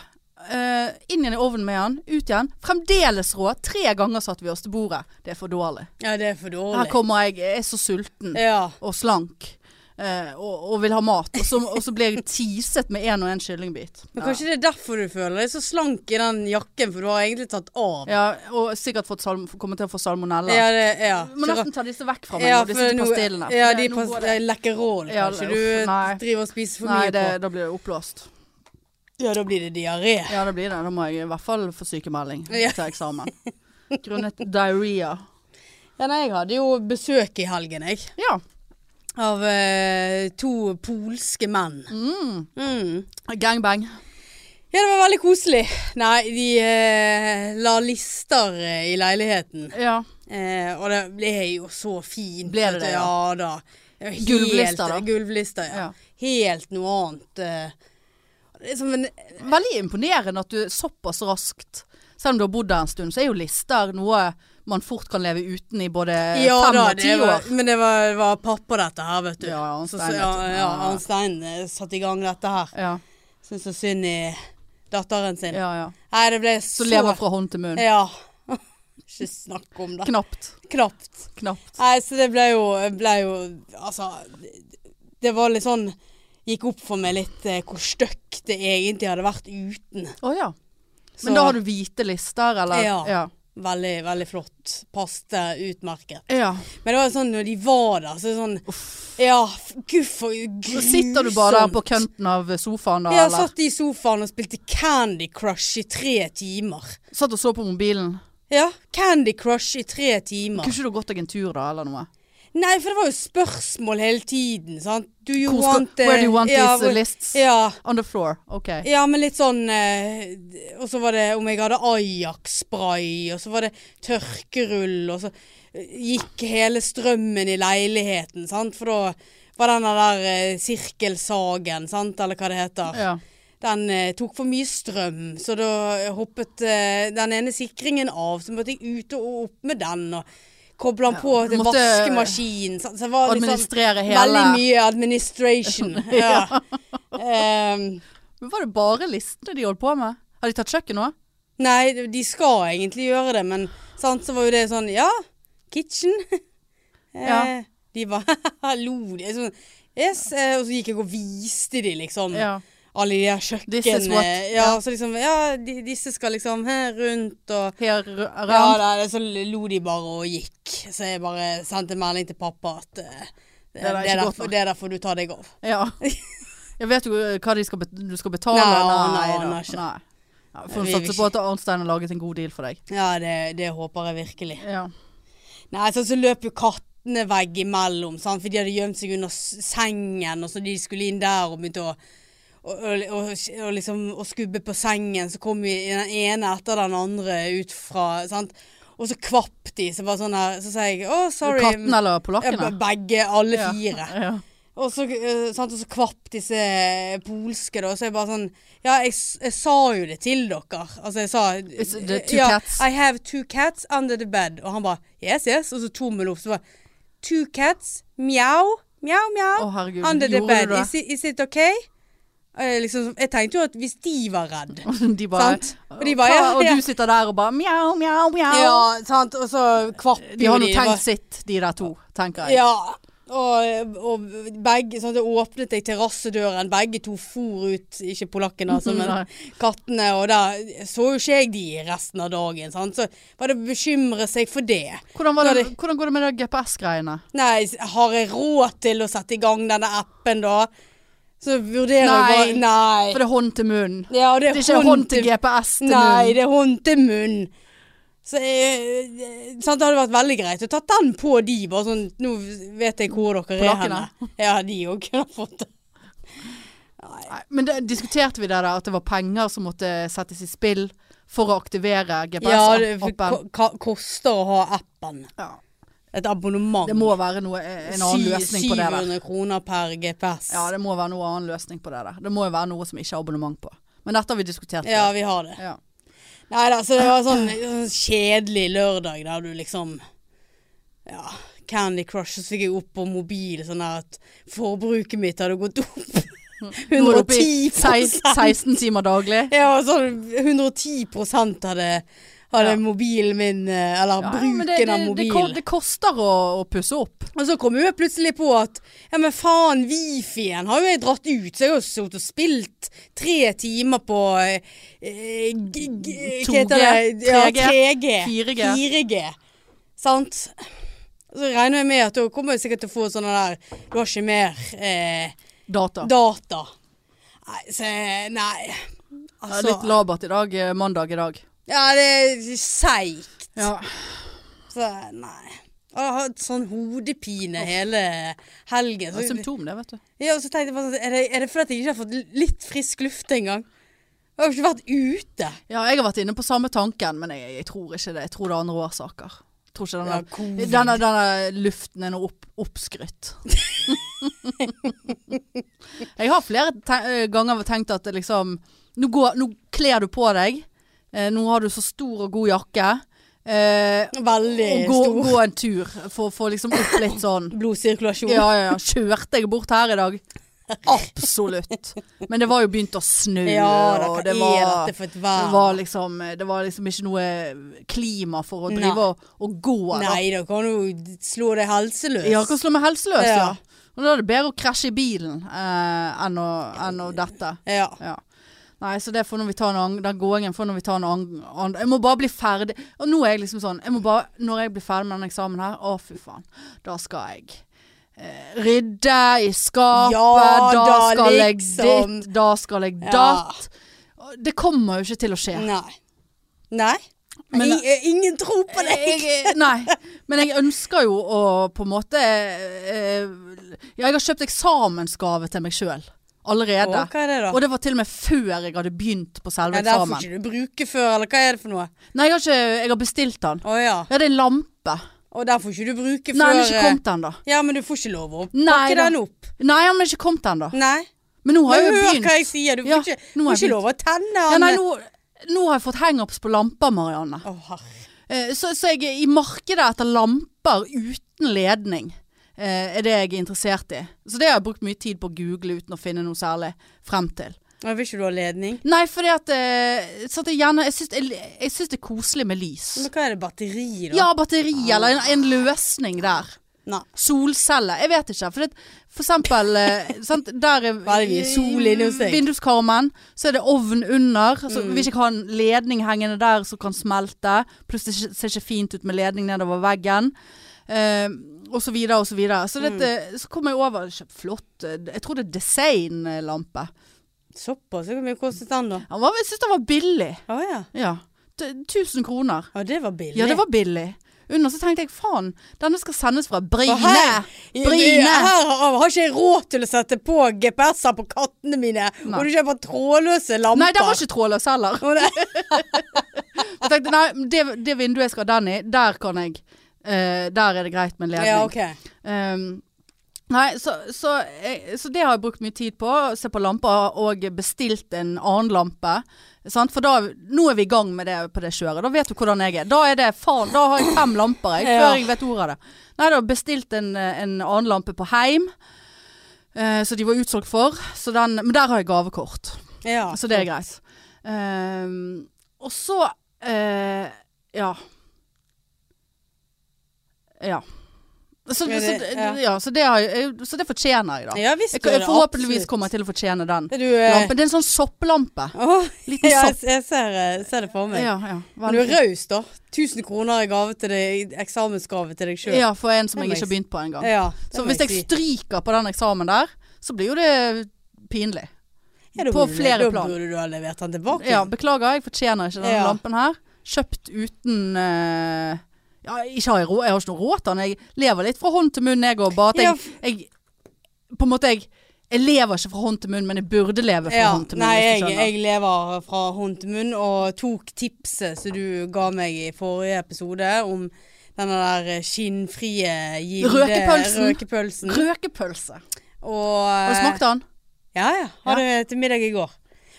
S1: Eh, inn igjen i ovnen med den, ut igjen. Fremdeles rå. Tre ganger satt vi oss til bordet. Det er for dårlig.
S2: ja, det er for
S1: Her
S2: dårlig.
S1: kommer jeg, jeg er så sulten
S2: Ja.
S1: og slank. eh, og, og vil ha mat. Og så, og så blir jeg teaset med én og én kyllingbit.
S2: Men kanskje det er derfor du føler deg så slank i den jakken, for du har egentlig tatt av.
S1: Ja, og sikkert fått salm, kommet til å få salmonella.
S2: Ja, det, ja.
S1: Må
S2: Så-
S1: nesten ta disse vekk fra meg, nå, disse
S2: for nå-
S1: pastillene.
S2: Ja,
S1: For
S2: de
S1: det- nå går det-
S2: pastillene lekker rål,
S1: Ja,
S2: kanskje.
S1: uff,
S2: Du
S1: nei.
S2: driver og spiser for
S1: Nei,
S2: mye
S1: det,
S2: på.
S1: da blir det oppblåst.
S2: Ja, da blir det diaré.
S1: Ja, det blir det. Da må jeg i hvert fall få sykemelding
S2: Ja.
S1: til eksamen. Grunnet diaré.
S2: Ja, nei, jeg hadde jo besøk i helgen, jeg.
S1: Ja.
S2: Av eh, to polske menn. Mm.
S1: Gangbang.
S2: Ja, det var veldig koselig. Nei, de eh, la lister eh, i leiligheten.
S1: Ja.
S2: Eh, og det ble jo så fint.
S1: Ble det
S2: vet du.
S1: det,
S2: ja?
S1: ja?
S2: da. Det var helt-
S1: Gulvlister, da?
S2: Gulvlister, ja.
S1: Ja.
S2: Helt noe annet. eh. Det er som en
S1: Veldig imponerende at du såpass raskt Selv om du har bodd der en stund, så er jo lister noe man fort kan leve uten i både
S2: Ja
S1: fem
S2: da,
S1: og ti
S2: det var,
S1: år.
S2: men det var, var pappa dette her, vet du.
S1: Ja, Arnstein,
S2: Så- så-
S1: vet du.
S2: ja, ja,
S1: Ja.
S2: Arnstein eh, satte i gang dette her.
S1: Ja,
S2: Syns så synd i datteren sin.
S1: ja, ja.
S2: Nei, det ble så
S1: Så lever fra hånd til munn.
S2: Ja. [laughs] Ikke snakk om det.
S1: Knapt.
S2: Knapt.
S1: Knapt.
S2: Nei, så det ble jo, ble jo Altså, det- det var litt sånn Gikk opp for meg litt eh, hvor støkk det egentlig hadde vært uten.
S1: Å ja.
S2: Så-
S1: Men da har du hvite lister, eller?
S2: Ja.
S1: Ja.
S2: Veldig, veldig flott. Passte utmerket.
S1: ja.
S2: Men det var sånn når de var der, så er det sånn Ja, f- gud for
S1: Så
S2: grusomt.
S1: sitter du bare der på kønten av sofaen da,
S2: Ja,
S1: eller?
S2: satt i sofaen og spilte Candy Crush i tre timer.
S1: Satt og så på mobilen.
S2: Ja, Candy Crush i tre timer.
S1: Kunne ikke du gått deg en tur da, eller noe?
S2: Nei, for det var jo spørsmål hele tiden, sant. Do you
S1: Hvor skal-
S2: want eh,
S1: where do you want
S2: ja,
S1: these
S2: hvor-
S1: lists?
S2: Ja.
S1: On the floor, ok.
S2: Ja, men litt sånn eh, Og så var det om jeg hadde Ajax-spray, og så var det tørkerull, og så eh, gikk hele strømmen i leiligheten, sant. For da var den der eh, sirkelsagen, sant, eller hva det heter.
S1: Ja.
S2: Den eh, tok for mye strøm, så da hoppet eh, den ene sikringen av. Så måtte jeg ut og opp med den, og koble den på
S1: du
S2: til
S1: måtte- eh,
S2: vaskemaskinen. Så, så det var liksom
S1: Administrere hele
S2: veldig mye administration.
S1: [laughs]
S2: ja. Ehm,
S1: Men Var det bare listene de holdt på med? Har de tatt kjøkken òg?
S2: nei, de skal egentlig gjøre det, men sant, så var jo det sånn Ja, kitchen. [laughs] Eh,
S1: Ja.
S2: De [laughs] bare lo. de, Sånn, yes. eh, Og så gikk jeg og viste de liksom.
S1: Ja.
S2: alle de der kjøkken...
S1: This is what-
S2: ja,
S1: ja.
S2: så liksom, ja de, disse skal liksom her rundt og
S1: Her
S2: ja,
S1: around.
S2: nei, det, Så lo de bare og gikk. Så jeg bare sendte melding til pappa at eh, det,
S1: er ikke
S2: det, der,
S1: godt nok.
S2: det der får du ta deg av. [laughs]
S1: Ja. Jeg vet jo eh, hva de skal bet du skal betale.
S2: Nei, nei,
S1: da.
S2: nei, ikke.
S1: Nei. Ja, for å
S2: Vi vil
S1: satse på at Arnstein har laget en god deal for deg.
S2: Ja, det, det håper jeg virkelig.
S1: Ja.
S2: Nei, altså, så, så løp jo kattene veggimellom, sant? for de hadde gjemt seg under s- sengen, og så de skulle inn der og begynte å og, og, og, og liksom, å skubbe på sengen, så kom vi den ene etter den andre ut fra sant? Og så kvapp de, så var sånn her Så sa jeg å, sorry. um,
S1: Katten eller
S2: Ja,
S1: polakkene?
S2: be- Begge, alle
S1: Ja.
S2: fire.
S1: Ja.
S2: Og så, eh, sant, og så kvapp disse polske, da. Så jeg bare sånn Ja, jeg, s- jeg sa jo det til dere. Altså, jeg sa
S1: It's the two
S2: ja,
S1: cats.
S2: I have two cats under the bed. Og han bare Yes, yes. Og så tommel opp. Så bare Two cats. Mjau. Mjau, mjau.
S1: Å, herregud.
S2: under the
S1: Gjorde
S2: bed.
S1: du det? [laughs]
S2: Is, it- is it OK? Eh, liksom, jeg tenkte jo at hvis de var redd
S1: De bare,
S2: Sant. Og de bare,
S1: Hva?
S2: ja.
S1: og du sitter der og bare mjau, mjau, mjau.
S2: Ja, sant. Og så kvapp jo
S1: De har nå
S2: Det var-
S1: tenkt sitt, de der to, tenker jeg.
S2: Ja. Og, og begge sånn, at jeg åpnet jeg terrassedøren. Begge to for ut, ikke polakken altså,
S1: [laughs] Nei.
S2: men kattene. Og der så jo ikke jeg de resten av dagen. Sant? Så var det å bekymre seg for det.
S1: Hvordan, var
S2: Ja,
S1: det, hvordan går det med de GPS-greiene?
S2: Nei, s- har jeg råd til å sette i gang denne appen da? Så vurderer
S1: Nei.
S2: jeg bare Nei.
S1: For det er hånd til munn.
S2: ja, og det
S1: Det er ikke hånd til GPS til
S2: Nei,
S1: munn.
S2: det er hånd til munn. Så eh, sant, Det hadde vært veldig greit å tatt den på de, bare sånn Nå vet jeg hvor dere er henne.
S1: Polakkene.
S2: Ja, de òg kunne fått det. Nei.
S1: Nei, Men det, diskuterte vi det der, at det var penger som måtte settes i spill for å aktivere
S2: Ja, det
S1: GPS-appen?
S2: ko- ka- koster å ha appen.
S1: Ja,
S2: Et abonnement.
S1: det må være noe, eh, en annen
S2: Sy-
S1: løsning på det der.
S2: 700 kroner per GPS.
S1: Ja, det må være noe annen løsning på det der. Det må jo være noe som ikke er abonnement på. Men dette har vi diskutert.
S2: Ja, vi har det.
S1: Ja.
S2: Nei da, så det var sånn, sånn kjedelig lørdag der du liksom Ja, Candy Crush, så fikk jeg opp på mobil sånn her at forbruket mitt hadde gått opp.
S1: [laughs] Nå er det oppe i
S2: 110
S1: sei- 16 timer daglig.
S2: Ja, sånn 110 hadde, hadde
S1: Ja.
S2: mobilen min eh, Eller
S1: Ja,
S2: bruken
S1: men det, det,
S2: av
S1: det,
S2: mobilen.
S1: ko- det koster å, å pusse opp.
S2: Og så kom jo jeg plutselig på at ja, men faen, wifien har jo jeg dratt ut. Så jeg har jo sittet og spilt tre timer på eh, eh, g, g, Hva heter det?
S1: 2G,
S2: Ja,
S1: 3G,
S2: 3G.
S1: 4G.
S2: 4G. Sant? Så regner jeg med at da kommer jeg sikkert til å få sånne der Du har ikke mer eh,
S1: Data.
S2: data. Nei, så Nei.
S1: Ja,
S2: Altså
S1: litt labert i dag. eh, Mandag i dag.
S2: Ja, det er seigt.
S1: Ja.
S2: Så nei. Og Jeg har hatt sånn hodepine hele
S1: Det
S2: helgen.
S1: er
S2: Så-
S1: et symptom, det, vet du.
S2: Ja, og så tenkte jeg bare sånn, er det, er det fordi at jeg ikke har fått l- litt frisk luft engang? Jeg har jo ikke vært ute.
S1: Ja, jeg har vært inne på samme tanken, men jeg, jeg tror ikke det. Jeg tror det er andre årsaker. Jeg Tror ikke
S2: Ja,
S1: denne,
S2: covid.
S1: denne, denne luften er noe opp, oppskrytt.
S2: [laughs]
S1: jeg har flere te eh, ganger tenkt at det liksom Nå, går, nå kler du på deg. Eh, nå har du så stor og god jakke. Eh,
S2: Veldig
S1: og gå,
S2: stor
S1: gå en tur for å få liksom opp litt sånn
S2: blodsirkulasjon.
S1: Ja, ja, ja. Kjørte jeg bort her i dag? Absolutt. Men det var jo begynt å snø,
S2: Ja, da, hva
S1: og
S2: det
S1: det var
S2: er dette for et
S1: det
S2: vær?
S1: var, liksom, det var liksom ikke noe klima for å
S2: Nei.
S1: drive og, og gå. da.
S2: Nei, da kan du slå deg helseløs.
S1: Ja, kan slå meg helseløs, ja.
S2: Ja.
S1: Og da er det bedre å krasje i bilen eh, enn, å, enn å dette.
S2: Ja.
S1: Ja. Nei, så det får når vi tar en annen, den gåingen får når vi tar en annen, annen Jeg må bare bli ferdig. Og nå er jeg liksom sånn jeg må bare, Når jeg blir ferdig med denne eksamen her, å fy faen. Da skal jeg eh, rydde i skapet.
S2: Ja,
S1: da,
S2: da
S1: skal jeg
S2: liksom.
S1: ditt. Da skal jeg
S2: Ja.
S1: datt. Det kommer jo ikke til å skje.
S2: Nei. Nei?
S1: Men-
S2: I, eh, ingen tro på deg!
S1: Jeg, eh, nei, men jeg ønsker jo å på en måte eh, Ja, jeg har kjøpt eksamensgave til meg sjøl
S2: Å,
S1: allerede.
S2: hva er det, da?
S1: Og det var til og med før jeg hadde begynt på selve
S2: ja, der får
S1: eksamen.
S2: ikke du bruke før, eller hva er det for noe?
S1: Nei, jeg har, ikke, jeg har bestilt den.
S2: Å ja.
S1: Ja, det er en lampe.
S2: Og der får ikke du bruke før
S1: Nei, den er ikke
S2: eh,
S1: kommet ennå.
S2: Ja, men du får ikke lov å
S1: Nei
S2: pakke
S1: da.
S2: den opp.
S1: Nei, den er ikke kommet ennå.
S2: Nei.
S1: Men nå har
S2: Men
S1: jeg jo
S2: hør
S1: begynt.
S2: hva jeg sier, du får
S1: Ja,
S2: ikke,
S1: nå har
S2: får
S1: jeg
S2: ikke lov å tenne
S1: Ja, nei,
S2: Anne.
S1: nå, nå har jeg fått hangups på lamper, Marianne.
S2: Å, herre.
S1: Eh, Så, så jeg er i markedet etter lamper uten ledning. eh, Er det jeg er interessert i. Så det har jeg brukt mye tid på å google uten å finne noe særlig frem til.
S2: Jeg vil ikke du ha ledning.
S1: Nei, fordi at, eh, sånn at jeg, gjerne, jeg, syns, jeg, jeg syns det er koselig med lys.
S2: Men hva er det, batteri da?
S1: Ja, batteri eller en, en løsning der.
S2: Nei.
S1: Solceller. Jeg vet ikke. For, det, for eksempel eh,
S2: [laughs]
S1: sant, der er
S2: Veldig mye sol inne hos deg. Mm.
S1: Vinduskarmen. Så er det ovn under. Så Hvis jeg har en ledning hengende der som kan smelte, pluss det ser ikke fint ut med ledning nedover veggen. Eh, og så videre og så videre. Så,
S2: Mm.
S1: dette, så kom jeg over kjøpt Flott. eh, Jeg tror det er designlampe.
S2: Såpass, hvor mye kostet den da?
S1: Han var- Jeg syns den var billig.
S2: Å ja.
S1: Ja. T- 1000 kroner.
S2: Å, det var billig.
S1: Ja, det var billig. Under så tenkte jeg faen, denne skal sendes fra
S2: Og
S1: Bryne.
S2: her,
S1: Bryne.
S2: her har, har ikke jeg råd til å sette på GPS-er på kattene mine.
S1: Nei.
S2: Og du kjøper trådløse lamper.
S1: Nei, den var ikke trådløs heller.
S2: Å, nei.
S1: [laughs] Jeg tenkte, nei, det, det vinduet jeg skal ha den i, der kan jeg eh, Der er det greit med ledning.
S2: Ja, ok.
S1: Ehm, nei, så, så, jeg, så det har jeg brukt mye tid på. å Se på lamper og bestilt en annen lampe. Sant? For da, nå er vi i gang med det på det kjøret. Da vet du hvordan jeg er. Da er det faen, da har jeg fem lamper jeg,
S2: [laughs] Ja.
S1: før jeg vet ordet av det. Nei, da bestilt en, en annen lampe på Heim. eh, så de var utsolgt for. Så den, men der har jeg gavekort.
S2: Ja.
S1: Så det er greit. Ehm, og så eh, Ja. Ja. Så,
S2: Ja, det-
S1: så,
S2: ja.
S1: ja. så, det har, jeg- så det fortjener jeg, da.
S2: Ja, visst
S1: jeg,
S2: gjør det,
S1: forhåpentligvis
S2: absolutt.
S1: kommer jeg til å fortjene den
S2: Er Du, eh,
S1: lampen. Det er en sånn sopplampe.
S2: Å,
S1: Liten
S2: [laughs] ja, jeg,
S1: sopp.
S2: jeg ser, eh, ser det for meg.
S1: Ja, ja.
S2: Men du er
S1: Veldig.
S2: raus, da. 1000 kroner i gave til deg, eksamensgave til deg sjøl.
S1: Ja, for en som
S2: Det
S1: jeg
S2: må
S1: ikke har
S2: jeg
S1: begynt på engang.
S2: Ja, det
S1: Så
S2: må
S1: hvis jeg
S2: si.
S1: stryker på den eksamen der, så blir jo det pinlig.
S2: Ja, da
S1: på
S2: burde du-
S1: flere
S2: Da
S1: plan.
S2: burde du ha levert den tilbake.
S1: Ja, beklager, jeg fortjener ikke denne
S2: Ja.
S1: lampen her. Kjøpt uten eh, Ja, ikke har jeg råd, jeg har ikke noe råd til den. Jeg lever litt fra hånd til munn, jeg òg. Bare at
S2: Ja,
S1: jeg,
S2: f-
S1: jeg På en måte, jeg, jeg lever ikke fra hånd til munn, men jeg burde leve fra
S2: Ja,
S1: hånd til munn.
S2: nei,
S1: hvis
S2: jeg,
S1: du skjønner.
S2: jeg lever fra hånd til munn og tok tipset som du ga meg i forrige episode om denne der skinnfrie gilde
S1: Røkepølsen.
S2: røkepølsen.
S1: Røkepølse.
S2: Og Eh,
S1: Har du smakt den?
S2: Ja, ja. Hadde det til middag i går.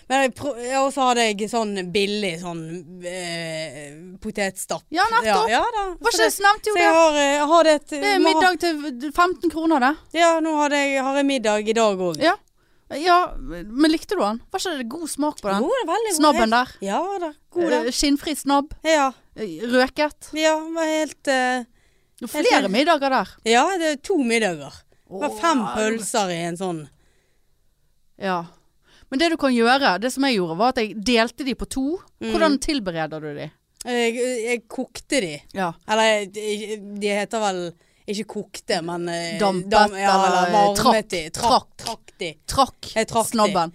S2: Men jeg prøv, ja, og så hadde jeg sånn billig sånn eh, potetstapp.
S1: Ja, nettopp.
S2: Ja, ja da.
S1: Hva
S2: Så
S1: skjedde? Nevnte jo
S2: så jeg
S1: det.
S2: har, eh, jeg har det til
S1: Det er
S2: må ha-
S1: middag til 15 kroner, det.
S2: Ja, nå hadde jeg, har jeg middag i dag òg.
S1: Ja. ja. Men likte du den? Var ikke det god smak på den?
S2: God, det er veldig god.
S1: Snabben der.
S2: Ja da. God, den.
S1: Eh, Skinnfri snabb.
S2: Ja.
S1: eh, Røket.
S2: Ja, det var helt eh,
S1: Flere
S2: enig.
S1: middager der.
S2: Ja, det er to middager. Det var fem
S1: Åh.
S2: pølser i en sånn.
S1: Ja. Men det du kan gjøre, det som jeg gjorde, var at jeg delte de på to.
S2: Mm.
S1: Hvordan tilbereder du de?
S2: Jeg, jeg kokte de.
S1: Ja.
S2: Eller de de heter vel ikke kokte, men eh,
S1: Dampet,
S2: ja,
S1: eller
S2: eller varmet
S1: trakk.
S2: de. Trakk,
S1: Trakk.
S2: trakk de.
S1: Trakk,
S2: Jeg trakk de.
S1: snabben.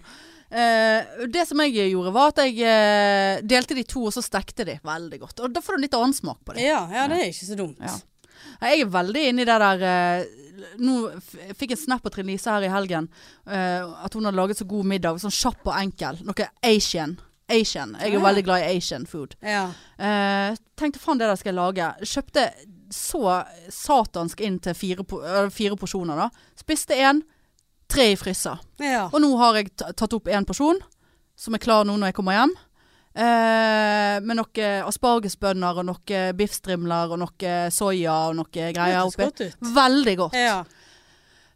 S1: Eh, det som jeg gjorde, var at jeg eh, delte de to, og så stekte de. Veldig godt. Og da får du en litt annen smak på det.
S2: Ja, ja, det er ikke så dumt.
S1: Ja. Nei, Jeg er veldig inne i det der eh, Nå f- jeg fikk en snap av Trine Lise her i helgen. eh, at hun hadde laget så god middag. Sånn kjapp og enkel. Noe Asian. Asian. Jeg er
S2: Ja.
S1: veldig glad i Asian food.
S2: Ja.
S1: Eh, tenkte faen det der skal jeg lage. Kjøpte så satansk inn til fire, po øh, fire porsjoner da. Spiste én, tre i fryser.
S2: ja.
S1: Og nå har jeg ta- tatt opp én porsjon, som er klar nå når jeg kommer hjem. Eh, med noen aspargesbønner og noen biffstrimler og noe soya og noe greier
S2: Hørtes
S1: oppi.
S2: godt ut.
S1: Veldig godt.
S2: Ja.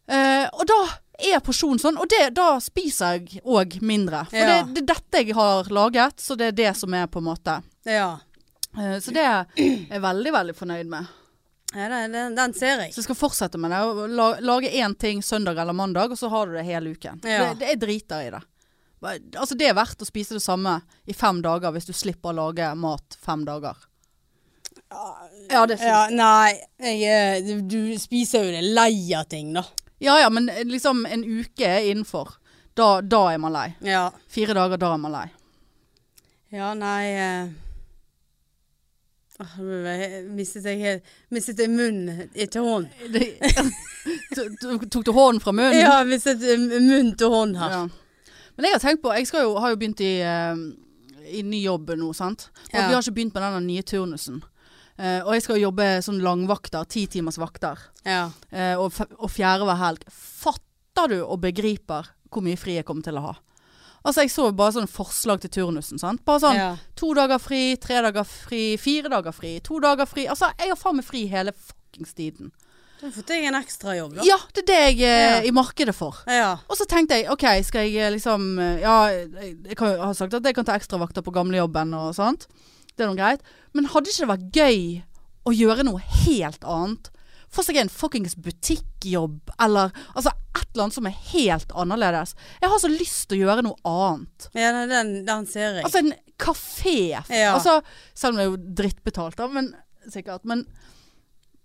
S1: Eh, og da er porsjonen sånn, og det, da spiser jeg òg mindre. For
S2: Ja.
S1: det, det er dette jeg har laget, så det er det som er på en måte
S2: ja.
S1: Eh, Så det er jeg veldig, veldig fornøyd med.
S2: ja den, den, den ser jeg.
S1: Så jeg skal fortsette med det. og la- Lage én ting søndag eller mandag, og så har du det hele uken.
S2: Ja.
S1: Det, det, jeg driter i det. Bare- Altså Det er verdt å spise det samme i fem dager hvis du slipper å lage mat fem dager. Ja, det syns
S2: Ja,
S1: jeg.
S2: nei, jeg, eh, du, du spiser jo det lei av ting, da.
S1: Ja ja, men liksom en uke er innenfor. Da, da er man lei.
S2: Ja.
S1: Fire dager, da er man lei.
S2: Ja, nei eh. Åh, nå ble jeg- Mistet jeg helt Mistet jeg munn i- til hånd?
S1: [laughs] Det, Tok- tok du hånden fra munnen?
S2: Ja, mistet eh, munn til hånd her.
S1: Ja. Men jeg har tenkt på Jeg skal jo, har jo begynt i, eh, i ny jobb nå, sant? Og
S2: Ja.
S1: vi har ikke begynt med denne nye turnusen. Eh, og jeg skal jobbe sånn langvakter, ti timers vakter.
S2: Ja.
S1: eh, og, f og fjerde hver helg. Fatter du og begriper hvor mye fri jeg kommer til å ha? Altså, jeg så bare sånn forslag til turnusen, sant. Bare sånn
S2: Ja.
S1: to dager fri, tre dager fri, fire dager fri, to dager fri. Altså, jeg har faen meg fri hele fuckings tiden.
S2: Da har jeg fått deg en ekstrajobb, da.
S1: Ja, det er det jeg er
S2: Ja.
S1: i markedet for.
S2: Ja.
S1: Og så tenkte jeg, ok, skal jeg eh, liksom eh, Ja, jeg jeg kan, jo ha sagt at jeg kan ta ekstravakter på gamlejobben og sånt. Det er noe greit. Men hadde ikke det vært gøy å gjøre noe helt annet? Få seg en fuckings butikkjobb, eller altså et eller annet som er helt annerledes. Jeg har så lyst til å gjøre noe annet.
S2: ja nei, den, den ser jeg.
S1: Altså en kafé. f-
S2: Ja.
S1: Altså, selv om det er jo drittbetalt, da, men sikkert. Men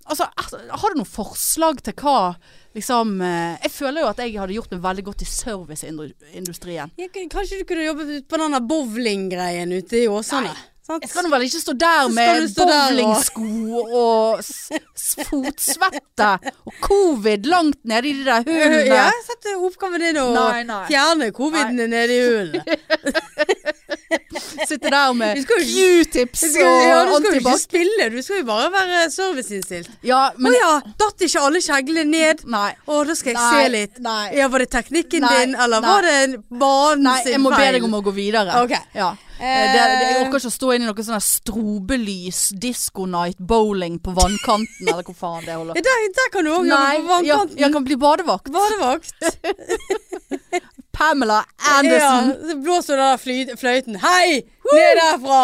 S1: altså, altså, har du noen forslag til hva liksom eh, Jeg føler jo at jeg hadde gjort meg veldig godt i serviceindustrien.
S2: Ja, k- kanskje du kunne jobbet ut på den der bowlinggreien ute i Åsane? Sant?
S1: Jeg skal nå vel ikke stå der
S2: Så skal
S1: med
S2: du stå der og-
S1: bowlingsko og s s fotsvette og covid langt nede i de der
S2: Øh,
S1: hullene.
S2: [laughs] Ja, sett eh, oppgaven din å
S1: Nei, nei.
S2: fjerne coviden nede i
S1: [laughs]
S2: hulen.
S1: Sitte der med
S2: Du skal jo
S1: q-tips
S2: Du skal, ja,
S1: og
S2: du skal jo ikke
S1: antibac.
S2: spille, du skal jo bare være serviceinnstilt.
S1: Ja,
S2: Å
S1: men
S2: ja, datt ikke alle kjeglene ned?
S1: Nei.
S2: Å, da skal jeg
S1: Nei,
S2: se litt.
S1: nei.
S2: Ja, Var det teknikken
S1: Nei,
S2: din, eller
S1: nei.
S2: var det banen
S1: Nei, jeg må be deg om å gå videre.
S2: Ok.
S1: Ja. Eh, Det, det, jeg orker ikke å stå inne i noe sånn her strobelys, disco-night, bowling på vannkanten, eller hvor faen det holder.
S2: [laughs] ja, der, der kan du òg jobbe på
S1: jeg,
S2: vannkanten.
S1: jeg kan bli badevakt. [laughs]
S2: Badevakt.
S1: Pamela
S2: Ja,
S1: Anderson.
S2: så blåser du den der fly- fløyten. Hei! Ned derfra!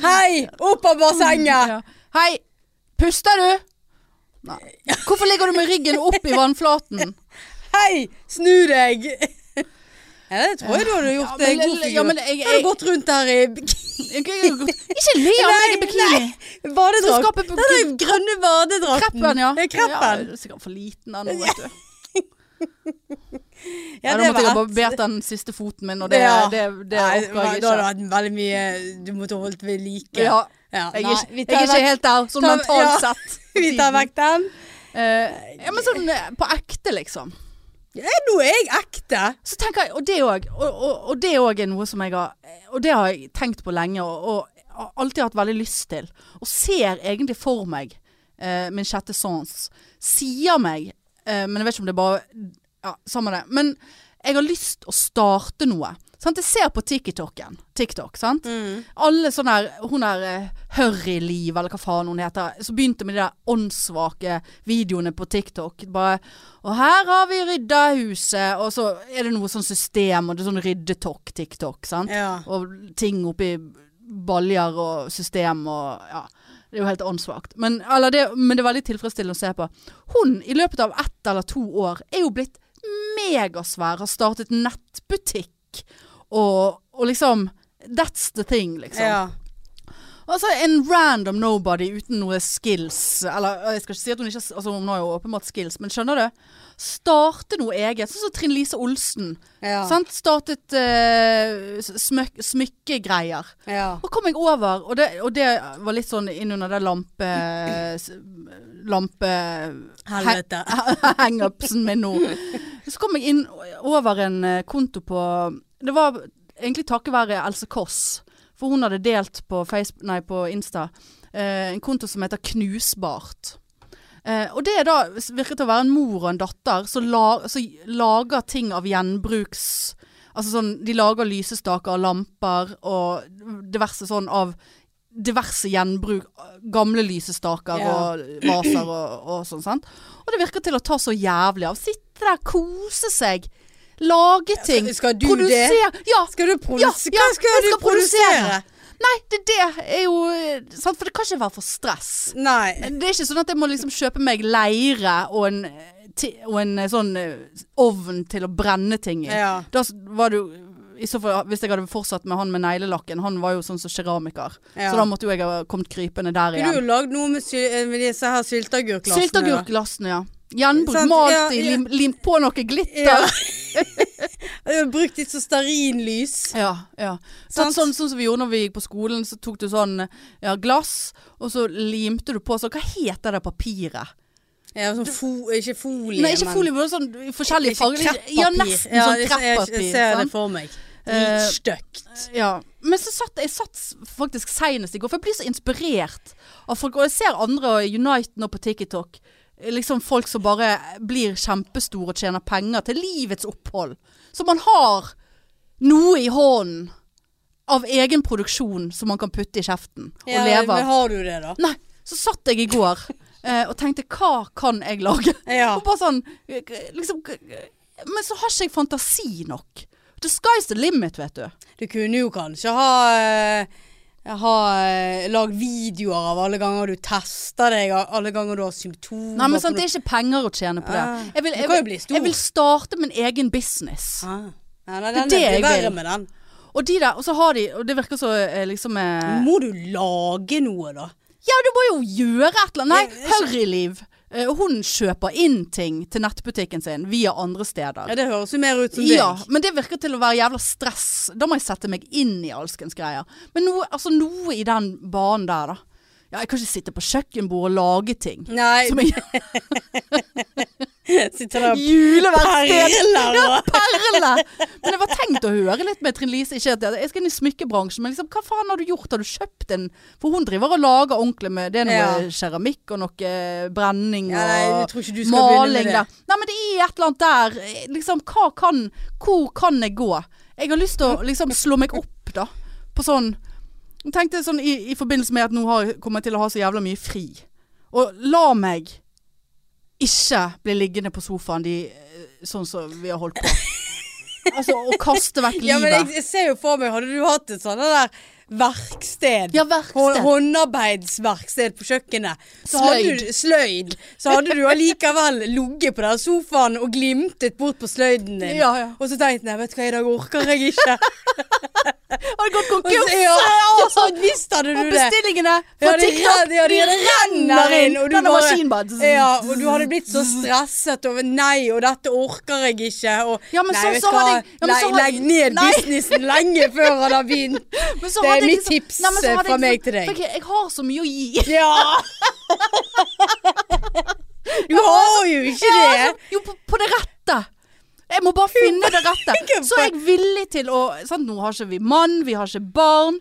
S2: Hei! Opp av bassenget!
S1: Ja. Hei, puster du? Nei. Hvorfor ligger du med ryggen opp i vannflaten?
S2: Hei! Snu deg! [laughs] Ja, det tror jeg du hadde gjort.
S1: Ja,
S2: en
S1: men-
S2: god figur.
S1: ja, men jeg-
S2: Da hadde
S1: jeg-
S2: du gått rundt der i
S1: Ikke le av meg i bikini.
S2: nei, badedrakt.
S1: Skal skape-
S2: Den der grønne badedrakten.
S1: Kreppen, ja.
S2: kreppen.
S1: Ja, sikkert for liten den nå, vet du.
S2: Ja,
S1: Ja, da
S2: det
S1: måtte jeg ha
S2: var ett-
S1: barbert den siste foten min, og det,
S2: Ja.
S1: det, det,
S2: Nei,
S1: orker jeg
S2: Da hadde du
S1: ikke.
S2: hatt veldig mye Du måtte holdt ved like.
S1: Ja.
S2: Ja,
S1: Jeg er
S2: nei,
S1: ikke,
S2: vi
S1: jeg er
S2: tar
S1: ikke
S2: vekk-
S1: helt der, sånn
S2: tar-
S1: mentalt
S2: ja.
S1: sett.
S2: [laughs] Vi tar vekk den.
S1: Eh, ja, men sånn eh, på ekte, liksom.
S2: Ja, nå er jeg ekte.
S1: Så tenker jeg, Og det òg. Og, og, og det òg er noe som jeg har eh, Og det har jeg tenkt på lenge, og, og har alltid hatt veldig lyst til. Og ser egentlig for meg eh, min sjette sans. Sier meg eh, Men jeg vet ikke om det er bare Ja, samme det. Men Jeg har lyst å starte noe. Sant? Jeg ser på TikToken. TikTok, sant? Alle sånne her Hun der eh, Hurryliv, eller hva faen hun heter, som begynte med de der åndssvake videoene på TikTok. Bare Og her har vi rydda huset, og så er det noe sånn system, og det er sånn ryddetok-TikTok, sant.
S2: Ja.
S1: Og ting oppi baljer og system og Ja. Det er jo helt åndssvakt. Men, eller det, men det er veldig tilfredsstillende å se på. Hun, i løpet av ett eller to år, er jo blitt megasvær. Har startet nettbutikk og, og liksom That's the thing, liksom.
S2: ja.
S1: Altså en random nobody uten noe skills Eller jeg skal ikke si at hun ikke har- altså, Hun har jo åpenbart skills, men skjønner du? Starte noe eget. Sånn som Trine Lise Olsen.
S2: Ja.
S1: Sant? Startet eh, s- smyk smykkegreier.
S2: ja.
S1: Og kom jeg over, og det, og det var litt sånn innunder det lampe... s- Lampe...
S2: Helvete.
S1: Hang-upsen min nå. Så kom jeg inn over en eh, konto på Det var egentlig takket være Else Kåss. For hun hadde delt på, Facebook, nei, på Insta eh, en konto som heter Knusbart. Eh, og det er da virket å være en mor og en datter som la, som lager ting av gjenbruks Altså sånn, de lager lysestaker og lamper og diverse sånn av diverse gjenbruk. Gamle lysestaker
S2: Ja.
S1: og vaser og, og sånn, sant. Og det virker til å ta så jævlig av. Sitte der, kose seg. Lage ting.
S2: altså, skal du det?
S1: det? Ja,
S2: Skal du
S1: ja,
S2: produsere?
S1: ja,
S2: Hva skal du
S1: jeg skal
S2: produsere?
S1: Nei, det, det er jo eh, sant? For det kan ikke være for stress.
S2: Nei.
S1: Det er ikke sånn at jeg må liksom kjøpe meg leire og en, ti- og en eh, sånn eh, ovn til å brenne ting i.
S2: Ja.
S1: Da s- var du i så fall, Hvis jeg hadde fortsatt med han med neglelakken, han var jo sånn som keramiker.
S2: Ja.
S1: Så da måtte jo jeg ha kommet krypende der
S2: Du har jo
S1: igjen.
S2: lagd noe med, sy med disse her sylteagurkglassene.
S1: Sylteagurkglassene, ja. Gjenbruk.
S2: Sant,
S1: Malt
S2: ja,
S1: i,
S2: ja.
S1: lim, limt på noe glitter.
S2: Ja. Jeg har brukt litt så stearinlys.
S1: Ja, ja. Sånn,
S2: Sant?
S1: sånn, sånn som vi gjorde når vi gikk på skolen, så tok du sånn ja, glass, og så limte du på sånn Hva heter det papiret?
S2: Ja, sånn fo ikke folie,
S1: Nei, ikke
S2: men-
S1: folie, men sånn i forskjellige
S2: Ikke
S1: farger.
S2: kreppapir.
S1: Ja, nesten
S2: Ja,
S1: sånn
S2: jeg- Jeg,
S1: kreppapir.
S2: jeg ser det
S1: sant?
S2: for meg.
S1: Eh,
S2: Dritstygt.
S1: Ja. Men så satt jeg satt faktisk senest i går, for jeg blir så inspirert av folk. Og jeg ser andre og Unite nå på TikTok. Liksom folk som bare blir kjempestore og tjener penger til livets opphold. Så man har noe i hånden av egen produksjon som man kan putte i kjeften og
S2: Ja,
S1: leve
S2: men
S1: av.
S2: har du det, da?
S1: Nei, så satt jeg i går eh, og tenkte hva kan jeg lage?
S2: Ja.
S1: Og bare sånn eh, liksom, eh, Men så har ikke jeg fantasi nok. The sky's the limit, vet du.
S2: Du kunne jo kanskje ha eh, ha eh, lagd videoer av alle ganger du tester deg, av alle ganger du har symptomer
S1: Nei, men
S2: på
S1: sant,
S2: noe-
S1: Det er ikke penger å tjene på det.
S2: Ah,
S1: Jeg vil,
S2: du
S1: jeg,
S2: kan jo
S1: vil,
S2: bli stor.
S1: jeg vil starte min egen business.
S2: ah. Nei, nei,
S1: Det er
S2: den
S1: det
S2: er
S1: jeg vil.
S2: verre med den.
S1: Og de der, og så har de Og det virker så eh, liksom eh,
S2: Må du lage noe, da?
S1: Ja, du må jo gjøre et eller annet.
S2: Jeg-
S1: Nei, Hurryliv. Eh, Hun kjøper inn ting til nettbutikken sin via andre steder.
S2: Ja, Det høres jo mer ut som
S1: Ja,
S2: deg.
S1: men det virker til å være jævla stress. Da må jeg sette meg inn i alskens greier. Men noe, altså noe i den banen der, da. Ja, jeg kan ikke sitte på kjøkkenbordet og lage ting.
S2: Nei,
S1: Som jeg
S2: [laughs] sitter der og
S1: Juleverksted!
S2: perler og
S1: Perle! Men jeg var tenkt å høre litt med Trine Lise. Ikke at jeg- jeg skal inn i smykkebransjen, men liksom, hva faen har du gjort? Har du kjøpt en For hun driver og lager ordentlig med Det er noe
S2: Ja.
S1: keramikk og noe eh, brenning og
S2: Ja, nei, jeg tror ikke du skal begynne med
S1: maling
S2: det.
S1: der. Nei, men det er et eller annet der. Eh, Liksom, hva kan Hvor kan jeg gå? Jeg har lyst til å liksom slå meg opp, da. På sånn Jeg tenkte sånn i, i forbindelse med at nå har, kommer jeg til å ha så jævla mye fri. Og la meg ikke bli liggende på sofaen de, sånn som vi har holdt på. Altså å kaste vekk
S2: Ja, men jeg,
S1: livet.
S2: jeg ser jo for meg, hadde du hatt et sånt der verksted,
S1: Ja, verksted.
S2: hå- håndarbeidsverksted på kjøkkenet, så hadde
S1: Sløyd.
S2: du, sløyd, så hadde du allikevel ligget på den sofaen og glimtet bort på sløyden din.
S1: Ja, ja.
S2: Og så tenkte jeg, vet du hva, i dag orker jeg
S1: [laughs]
S2: ikke.
S1: Har det gått
S2: Og så,
S1: konkurs?
S2: ja, og så visste hadde du
S1: Og
S2: det.
S1: bestillingene
S2: Ja,
S1: fra
S2: det
S1: TikTok
S2: renner- ja, det renner inn, og du
S1: Denne
S2: bare-
S1: maskinbad.
S2: Ja, og du hadde blitt så stresset over nei, og dette orker jeg ikke. Og,
S1: Ja, men
S2: nei,
S1: så-
S2: vet
S1: så
S2: du hva,
S1: hadde jeg- ja, men
S2: nei,
S1: så hadde-
S2: legg ned
S1: nei.
S2: businessen lenge før han har
S1: [laughs]
S2: begynt.
S1: Men så
S2: Det er
S1: hadde jeg liksom-
S2: mitt tips,
S1: men så hadde
S2: eh,
S1: jeg
S2: fra meg til deg.
S1: for Jeg, jeg har så mye å gi.
S2: Ja! Du har jo ikke
S1: [laughs] Ja,
S2: det.
S1: altså, jo, på, på det rette. Jeg må bare finne det rette.
S2: Ikke
S1: Så er jeg villig til å sant, Nå har ikke vi mann, vi har ikke barn.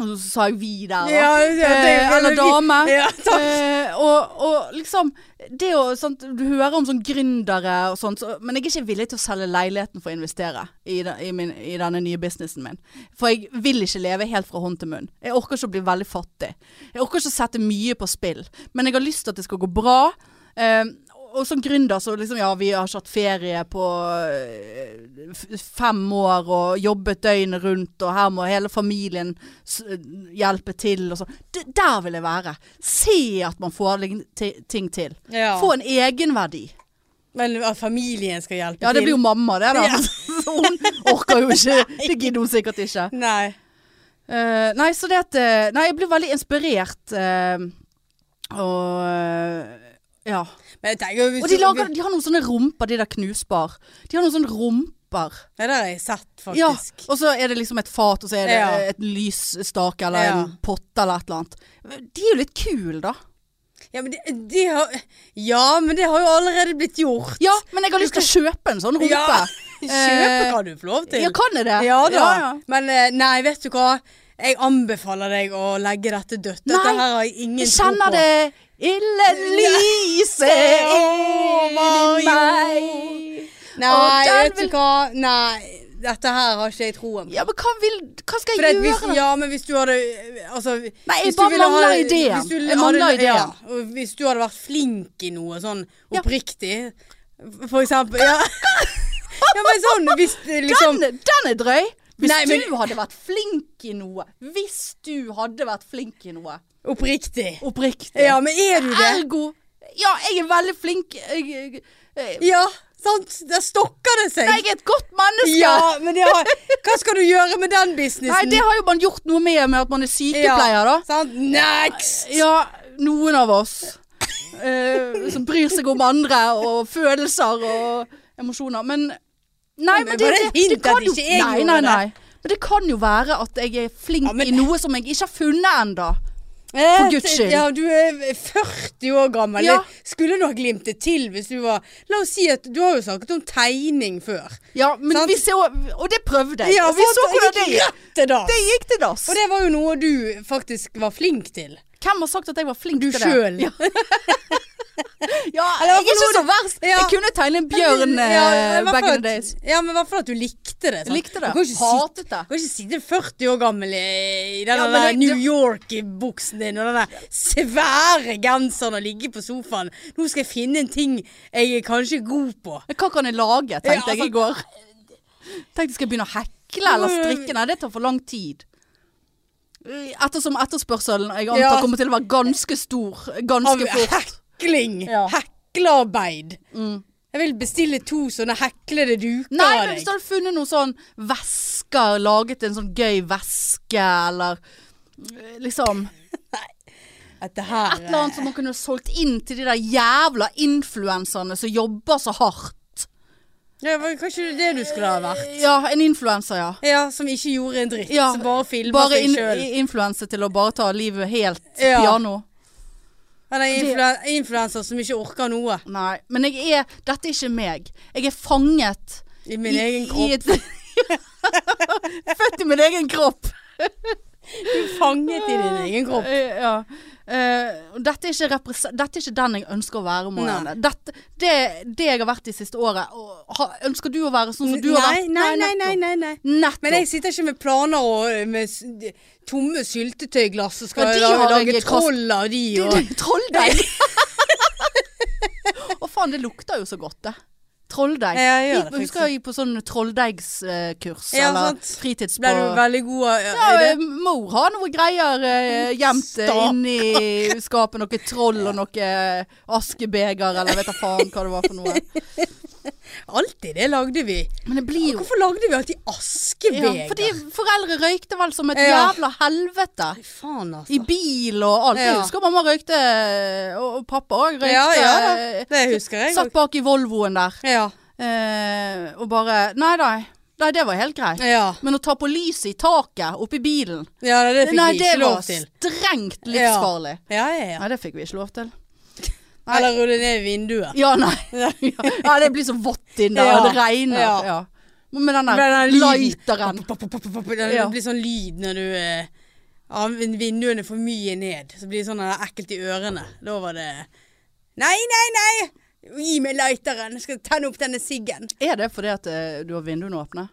S1: Og så sa jeg vi der, da.
S2: Ja, ja, det-
S1: eh, eller dame.
S2: [laughs] Ja, takk.
S1: eh, og, og liksom Det å sant, Du hører om sånn gründere og sånt, så, men jeg er ikke villig til å selge leiligheten for å investere i, de, i, min, i denne nye businessen min. For jeg vil ikke leve helt fra hånd til munn. Jeg orker ikke å bli veldig fattig. Jeg orker ikke å sette mye på spill, men jeg har lyst til at det skal gå bra. Eh, og som gründer så liksom Ja, vi har ikke hatt ferie på eh, f- fem år og jobbet døgnet rundt, og her må hele familien s hjelpe til og sånn. D- Der vil jeg være. Se at man får lign- ti- ting til.
S2: Ja.
S1: Få en egenverdi.
S2: Men at familien skal hjelpe
S1: Ja, det blir jo
S2: til.
S1: mamma det, da.
S2: Ja.
S1: [laughs] Så hun orker jo
S2: [laughs]
S1: ikke. Det gidder hun sikkert ikke.
S2: Nei.
S1: Eh, nei, så det at eh, Nei, jeg blir veldig inspirert. eh, og eh, ja.
S2: Men jeg tenker jo hvis
S1: Og de,
S2: du-
S1: lager, de har noen sånne rumper, de der knusbar. De har noen sånne rumper.
S2: Ja, det har jeg sett,
S1: Ja,
S2: faktisk.
S1: og så er det liksom et fat, og så er det
S2: Ja.
S1: et lysstake eller
S2: Ja.
S1: en potte eller et eller annet. De er jo litt kule, da.
S2: Ja, men, det, de har, ja men det har jo allerede blitt gjort.
S1: Ja, men jeg har lyst til å kjøpe en sånn rumpe.
S2: [laughs] Ja, Kjøpe
S1: Eh,
S2: kan du få lov til.
S1: Ja, kan jeg det?
S2: Ja da.
S1: Ja, ja.
S2: Men eh, nei, vet du hva? Jeg anbefaler deg å legge dette dødt. Dette
S1: Nei,
S2: her har jeg ingen
S1: Jeg
S2: tro på.
S1: kjenner det ille lyset
S2: Åh,
S1: inni meg.
S2: Mario.
S1: Åh,
S2: Nei,
S1: den
S2: vet
S1: vil-
S2: du hva? Nei, dette her har ikke jeg troen på.
S1: Ja, men hva, vil, hva skal
S2: For
S1: jeg
S2: at hvis,
S1: gjøre? da?
S2: ja, men hvis du hadde altså,
S1: Nei, jeg
S2: hvis du
S1: bare
S2: ville
S1: mangler ideen.
S2: hvis du
S1: Jeg
S2: hadde-
S1: mangler ideen.
S2: Ja, og hvis du hadde vært flink i noe sånn
S1: Ja.
S2: oppriktig, for
S1: [laughs]
S2: eksempel ja. ja, men sånn hvis eh, liksom
S1: Den, den er drøy. Hvis
S2: Nei, men-
S1: du hadde vært flink i noe. Hvis du hadde vært flink i noe.
S2: Oppriktig.
S1: Oppriktig.
S2: Ja, men er du det?
S1: Ergo Ja, jeg er veldig flink. Jeg, jeg, jeg,
S2: Ja, sant? Der stokker det seg.
S1: jeg er et godt menneske.
S2: Ja, men det har, hva skal du gjøre med den businessen?
S1: Nei, det har jo man gjort noe med med at man er sykepleier, da.
S2: Sant? Next!
S1: Ja, noen av oss eh, som bryr seg om andre og følelser og emosjoner. Men Nei,
S2: men
S1: men det,
S2: var det
S1: det,
S2: et hint at
S1: kan jo
S2: ikke jeg
S1: Nei, nei,
S2: gjorde det?
S1: nei. Men det kan jo være at jeg er flink
S2: Ja, men-
S1: i noe som jeg ikke har funnet ennå.
S2: Eh,
S1: for Guds skyld.
S2: Ja, du er 40 år gammel.
S1: Ja.
S2: Det Skulle du ha glimtet til hvis du var La oss si at du har jo snakket om tegning før.
S1: Ja, men
S2: Sant?
S1: vi så Og det prøvde jeg. og vi
S2: sant?
S1: altså, så hvordan det
S2: gikk
S1: gikk.
S2: rett til dass.
S1: Det gikk til dass.
S2: Og det var jo noe du faktisk var flink til.
S1: Hvem har sagt at jeg var flink
S2: Du
S1: til det?
S2: sjøl.
S1: Ja. Ja,
S2: Eller
S1: jeg
S2: i hvert
S1: er ikke
S2: fall
S1: så verst.
S2: Ja.
S1: Jeg kunne tegne en bjørn eh,
S2: i hvert
S1: back
S2: fall
S1: in the
S2: at-
S1: days.
S2: Ja, men i hvert fall at du likte det. sant?
S1: Jeg likte det.
S2: Du kan ikke sitte
S1: Hatet det.
S2: Du kan ikke sitte 40 år gammel i i den
S1: Ja, men
S2: der
S1: det-
S2: New
S1: det-
S2: York-buksen din og den der svære genseren og ligge på sofaen. Nå skal jeg finne en ting jeg er kanskje god på.
S1: Men Hva kan jeg lage, tenkte
S2: Ja, altså- Mm.
S1: jeg i går. Tenkte skal jeg begynne å hekle eller strikke. Nei, det tar for lang tid. Ettersom etterspørselen jeg antar
S2: Ja.
S1: kommer til å være ganske stor
S2: Av
S1: ganske fort.
S2: hekling.
S1: Ja. Mm.
S2: Heklearbeid. Jeg vil bestille to sånne heklede duker
S1: Nei,
S2: av
S1: men hvis
S2: deg.
S1: du hadde funnet noen sånn vesker, laget en sånn gøy veske, eller eh, liksom
S2: Dette her eh.
S1: Et eller annet som man kunne solgt inn til de der jævla influenserne som jobber så hardt.
S2: ja, var Kanskje det er det du skulle ha vært?
S1: Ja, en influenser, ja.
S2: Ja, Som ikke gjorde en dritt.
S1: Ja,
S2: som bare filma
S1: Bare
S2: seg
S1: in
S2: sjøl.
S1: influense til å bare ta livet helt
S2: Ja.
S1: piano.
S2: Han er influ- influenser som ikke orker noe.
S1: Nei, men jeg er Dette er ikke meg. Jeg er fanget
S2: I min
S1: i-
S2: egen
S1: i et,
S2: kropp.
S1: [laughs] Født i min egen kropp.
S2: Fanget i din egen kropp.
S1: Eh, ja. Eh, og dette, er ikke represe- dette er ikke den jeg ønsker å være.
S2: Nei.
S1: Marianne. Dette, det, det jeg har vært de siste året og, ha, Ønsker du å være sånn som du har
S2: Nei,
S1: vært?
S2: nei, nei, nei,
S1: nettopp.
S2: nei, nei.
S1: Nettopp.
S2: Men jeg sitter ikke med planer og eh, med s- de- tomme syltetøyglass og skal
S1: Ja, de
S2: lage,
S1: har
S2: lage
S1: jeg kost-
S2: troll av de og [laughs]
S1: Det- det- Trolldeig! Å faen, det lukter jo så godt, det. Trolldeig.
S2: Ja, jeg
S1: Gikk-
S2: gjør det
S1: jeg
S2: faktisk.
S1: husker jeg gikk på sånn trolldeigskurs
S2: Ja,
S1: eller
S2: sant.
S1: fritids på
S2: Ble du veldig god av
S1: ja,
S2: i det?
S1: eh, mor har noe greier eh, gjemt eh,
S2: Stakkar.
S1: inni skapet. Noe troll og noe eh, askebeger, eller vet da faen hva det var for noe.
S2: Alltid det lagde vi.
S1: Men det blir jo
S2: Hvorfor lagde vi alltid
S1: ja,
S2: askebeger?
S1: Fordi foreldre røykte vel som et
S2: Ja.
S1: jævla helvete.
S2: Faen, altså.
S1: I bil og alt.
S2: Ja.
S1: Jeg husker mamma røykte, eh, og og pappa òg røykte. eh,
S2: Ja, ja da. Det husker jeg.
S1: Satt bak i Volvoen der
S2: Ja.
S1: eh, og bare Nei, nei. Nei, det var helt greit.
S2: Ja.
S1: Men å ta på lyset i taket oppi bilen
S2: ja, det fikk
S1: Nei,
S2: vi
S1: det
S2: ikke lov
S1: var
S2: til.
S1: strengt livsfarlig.
S2: Ja, ja, ja.
S1: Nei, det fikk vi ikke lov til. Nei.
S2: Eller rulle ned vinduet.
S1: Ja,
S2: [laughs]
S1: nei. Ja, det blir så vått inn der,
S2: Ja.
S1: og det regner.
S2: Ja.
S1: Ja. Med den
S2: Med
S1: der
S2: den lyden.
S1: lighteren.
S2: Pop, pop, pop, pop, pop, Det
S1: Ja.
S2: blir sånn lyd når du eh, Ja, men vinduene for mye ned. Så blir det sånn at det er ekkelt i ørene. Da var det Nei, nei, nei! Gi meg lighteren! Jeg skal tenne opp denne siggen.
S1: Er det fordi at eh, du har vinduene åpne?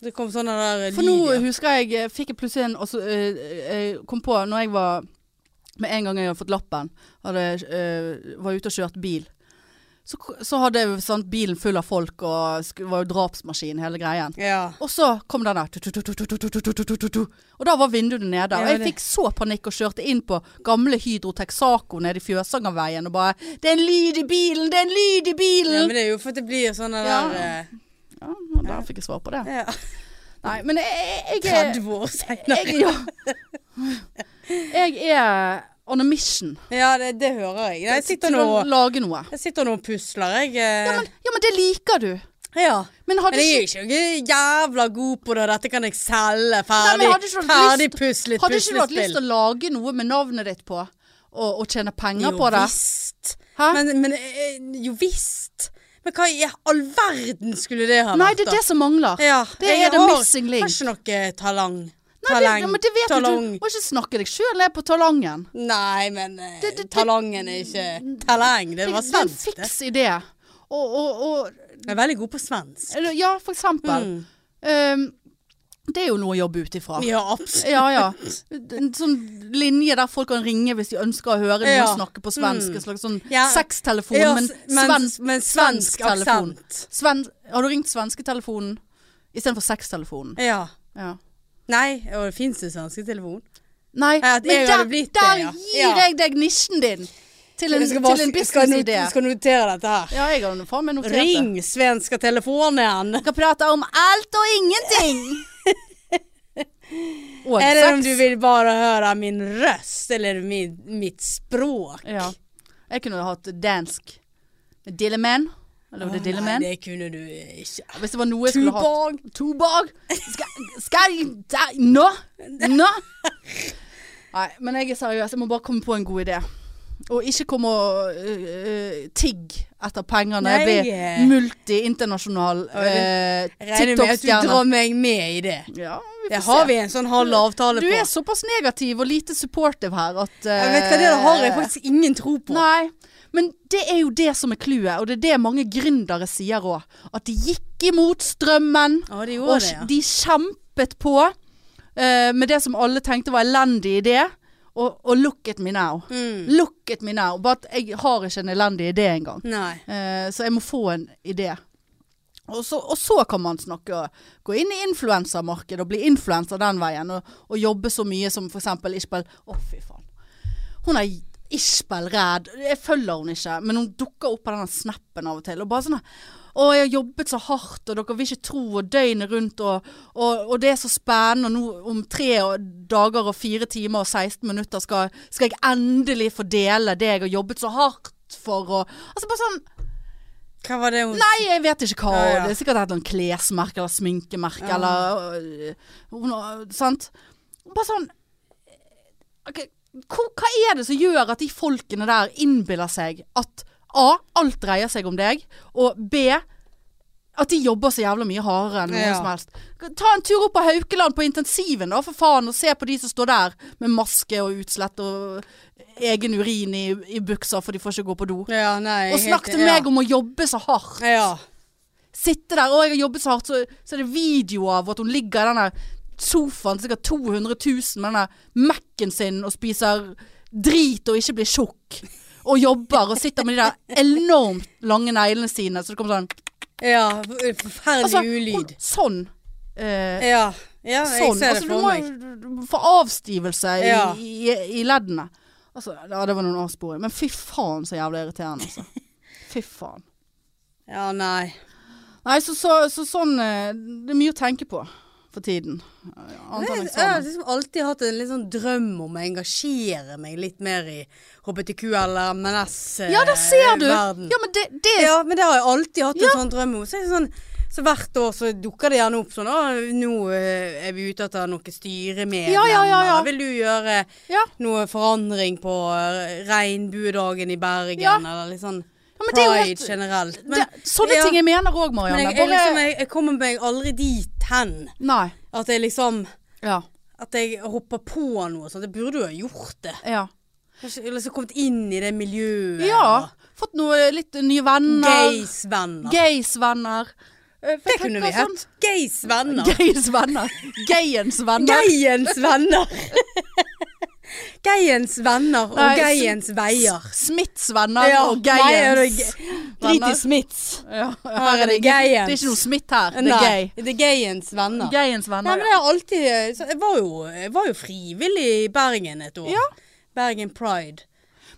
S2: Det kom sånn der
S1: For nå
S2: lyd, ja.
S1: husker jeg, eh, fikk jeg plutselig en og så, eh, Jeg kom på når jeg var Med en gang jeg hadde fått lappen, hadde, eh, var ute og kjørte bil. Så, k- så hadde jeg sant, bilen full av folk, og sk- var jo drapsmaskin hele greien.
S2: ja.
S1: Og så kom den der tu-tu-tu-tu-tu-tu-tu-tu-tu-tu-tu. Og da var vinduene nede. Og
S2: Ja,
S1: jeg
S2: det-
S1: fikk så panikk og kjørte inn på gamle Hydro Texaco nede i Fjøsangerveien og bare 'Det er en lyd i bilen! Det er en lyd i
S2: ja.
S1: bilen!'
S2: Men det er jo for at det blir sånn der
S1: Ja.
S2: eh,
S1: Ja, og der fikk jeg svar på det.
S2: ja.
S1: Nei, men jeg, jeg, jeg,
S2: 30 år senere.
S1: jeg Ja. Jeg er on a mission.
S2: Ja, det, det hører jeg. Jeg sitter
S1: til
S2: nå
S1: å lage noe.
S2: jeg sitter nå og pusler, jeg. eh.
S1: Ja men, ja, men det liker du.
S2: ja.
S1: Men hadde
S2: Men jeg
S1: ikke
S2: er ikke noe jævla god på det. Dette kan jeg selge.
S1: Nei,
S2: Ferdig,
S1: men hadde ikke du hatt
S2: ferdig
S1: lyst-
S2: puslet
S1: hadde ikke du hatt lyst
S2: puslespill.
S1: til å lage noe med navnet ditt på, og, og tjene penger
S2: Jo
S1: på det?
S2: visst.
S1: Hæ?
S2: Men, men eh, jo visst. Men hva i all verden skulle det ha vært?
S1: Nei, det er det som mangler.
S2: da? ja,
S1: det
S2: jeg
S1: er the
S2: har-
S1: missing link.
S2: Har ikke noe talang.
S1: Nei, det, ja, men det vet jo
S2: talang.
S1: du. Du må ikke snakke deg sjøl ned på talangen.
S2: Nei, men eh,
S1: Det- det- det-
S2: talangen er ikke Talang, det
S1: Det det er
S2: var
S1: en
S2: svensk. det.
S1: fiks idé. Og, og, og
S2: Jeg er veldig god på svensk.
S1: eller, Ja, for eksempel.
S2: Mm.
S1: Ehm, det er jo noe å jobbe ut ifra.
S2: Ja, absolutt.
S1: [laughs] Ja, ja. En sånn linje der folk kan ringe hvis de ønsker å høre noen
S2: Ja. Mm.
S1: snakke på svensk. En slags sånn
S2: Ja.
S1: sextelefon,
S2: Ja,
S1: men
S2: s-
S1: svensk,
S2: men
S1: svensk
S2: svensk
S1: telefon.
S2: aksent.
S1: sven, Har du ringt svensketelefonen istedenfor sextelefonen?
S2: Ja.
S1: Ja.
S2: Nei, og det fins en svenske telefon.
S1: Nei,
S2: Ja, at
S1: men
S2: jeg
S1: der,
S2: hadde blitt det,
S1: der
S2: ja.
S1: gir
S2: Ja.
S1: jeg deg nisjen din til en,
S2: Jeg skal bare-
S1: til en
S2: jeg skal not-
S1: businessidé.
S2: Skal notere dette her.
S1: Ja, jeg har faen meg notert det.
S2: Ring svenska telefonen.
S1: Vi skal prate om alt og ingenting.
S2: [laughs]
S1: og
S2: Eller om
S1: sex.
S2: du vill bara höra min röst eller min, mitt språk.
S1: Ja. Jeg kunne hatt dansk. Dilleman. Eller var det Dilleman?
S2: Nej, det kunde du ikke.
S1: Hvis det var noe jeg skulle hatt.
S2: Tubag.
S1: Tobag. Skal, skal jeg ta, Nå! Nå! Nei, men jeg er seriøs. Jeg må bare komme på en god idé. Og ikke komme og øh, øh, tigge etter penger når jeg
S2: Nei.
S1: blir multi-internasjonal øh,
S2: Jeg regner med at du
S1: TikTok-stjerne.
S2: drar meg med i det.
S1: Ja, vi
S2: Det
S1: får
S2: har
S1: se.
S2: vi en sånn halv avtale
S1: Du
S2: på.
S1: er såpass negativ og lite supportive her at eh,
S2: Jeg vet hva, det har jeg faktisk ingen tro på.
S1: Nei, men det er jo det som er clouet, og det er det mange gründere sier òg. At de gikk imot strømmen,
S2: Ja, det
S1: og
S2: gjorde det, ja.
S1: de kjempet på eh, med det som alle tenkte var elendig idé. Og, og look at me now.
S2: Mm.
S1: Look at me now. Bare at jeg har ikke en elendig idé engang.
S2: Nei.
S1: Eh, så jeg må få en idé. Og så, og så kan man snakke og gå inn i influensermarkedet og bli influenser den veien. Og, og jobbe så mye som f.eks. Ishbel. Å, fy faen. Hun er Ishbel Ræd. Jeg følger hun ikke, men hun dukker opp på denne snappen av og til. Og bare sånn Å, jeg har jobbet så hardt, og dere vil ikke tro, og døgnet rundt, og, og, og det er så spennende, og nå om tre og- dager og fire timer og 16 minutter skal, skal jeg endelig få dele det jeg har jobbet så hardt for, og Altså bare sånn
S2: Hva var det hun
S1: Nei, jeg vet ikke hva.
S2: Ja, ja.
S1: Det er sikkert et eller annet klesmerke eller sminkemerke
S2: Ja.
S1: eller øh, hun har- Sant? Bare sånn ok, hvor, Hva er det som gjør at de folkene der innbiller seg at A. Alt dreier seg om deg, og B. At de jobber så jævla mye hardere enn noen
S2: Ja.
S1: som helst. Ta en tur opp på Haukeland på intensiven, da, for faen, og se på de som står der med maske og utslett og egen urin i, i buksa, for de får ikke gå på do.
S2: Ja, nei.
S1: Og snakk til meg om å jobbe så hardt
S2: Ja. ja.
S1: sitte der, og jeg har jobbet så hardt, så, så er det video av at hun ligger i denne sofaen, sikkert 200 000 med denne Mac-en sin og spiser drit og ikke blir tjukk. Og jobber og sitter med de der enormt lange neglene sine, så det kommer sånn
S2: ja. Forferdelig
S1: altså,
S2: ulyd.
S1: hun- Sånn. Eh,
S2: Ja. ja, jeg
S1: sånn.
S2: ser
S1: Altså,
S2: det
S1: du
S2: for
S1: må
S2: meg.
S1: jo få avstivelse i,
S2: Ja.
S1: i, i leddene. Altså, ja, det var noen avsporing. Men fy faen så jævlig irriterende, altså. Fy faen.
S2: Ja, nei.
S1: Nei, så, så, så sånn eh, Det er mye å tenke på for tiden. eh, Annet enn
S2: Jeg, jeg har
S1: eksamen.
S2: liksom alltid hatt en litt sånn drøm om å engasjere meg litt mer i HBTQ eller MNS-verden.
S1: Ja, der ser du! Ja, men det, det er
S2: eh, Ja, men det har jeg alltid hatt en sånn drøm om. Så, er det sånn, så hvert år så dukker det gjerne opp sånn Å, nå eh, er vi ute etter noe styremedlemmer.
S1: Ja, ja, ja, ja.
S2: Vil du gjøre
S1: Ja,
S2: noe forandring på eh, regnbuedagen i Bergen,
S1: Ja.
S2: eller litt sånn
S1: ja men det er jo
S2: pride
S1: helt
S2: generelt? Men,
S1: det, Sånne
S2: ja,
S1: ting jeg mener òg,
S2: men liksom
S1: Marianne.
S2: jeg, jeg,
S1: Bare
S2: liksom, jeg, jeg kommer meg aldri dit hen
S1: Nei.
S2: at jeg liksom
S1: Ja.
S2: At jeg hopper på noe sånt. Jeg burde jo ha gjort det.
S1: Ja.
S2: Kanskje, eller så kommet inn i det miljøet.
S1: ja. Fått noe, litt nye venner.
S2: Gays-venner.
S1: Gays-venner. Eh, for
S2: Det
S1: jeg tenker
S2: kunne vi hett. Gays-venner.
S1: Gays-venner. Gayens venner.
S2: Geiens
S1: [laughs]
S2: venner. Geiens venner
S1: Nei,
S2: og Geiens veier.
S1: Smiths venner og
S2: nei, er det
S1: Gayens.
S2: ge- Drit i
S1: venner.
S2: Smiths.
S1: Ja,
S2: Her er det Gayens.
S1: Det er ikke noe Smith her. Det er gay.
S2: Nei, det er Geiens venner.
S1: Gayens
S2: Nei,
S1: venner.
S2: men det er alltid så jeg, var jo, jeg var jo frivillig i Bergen et år.
S1: Ja.
S2: Bergen Pride.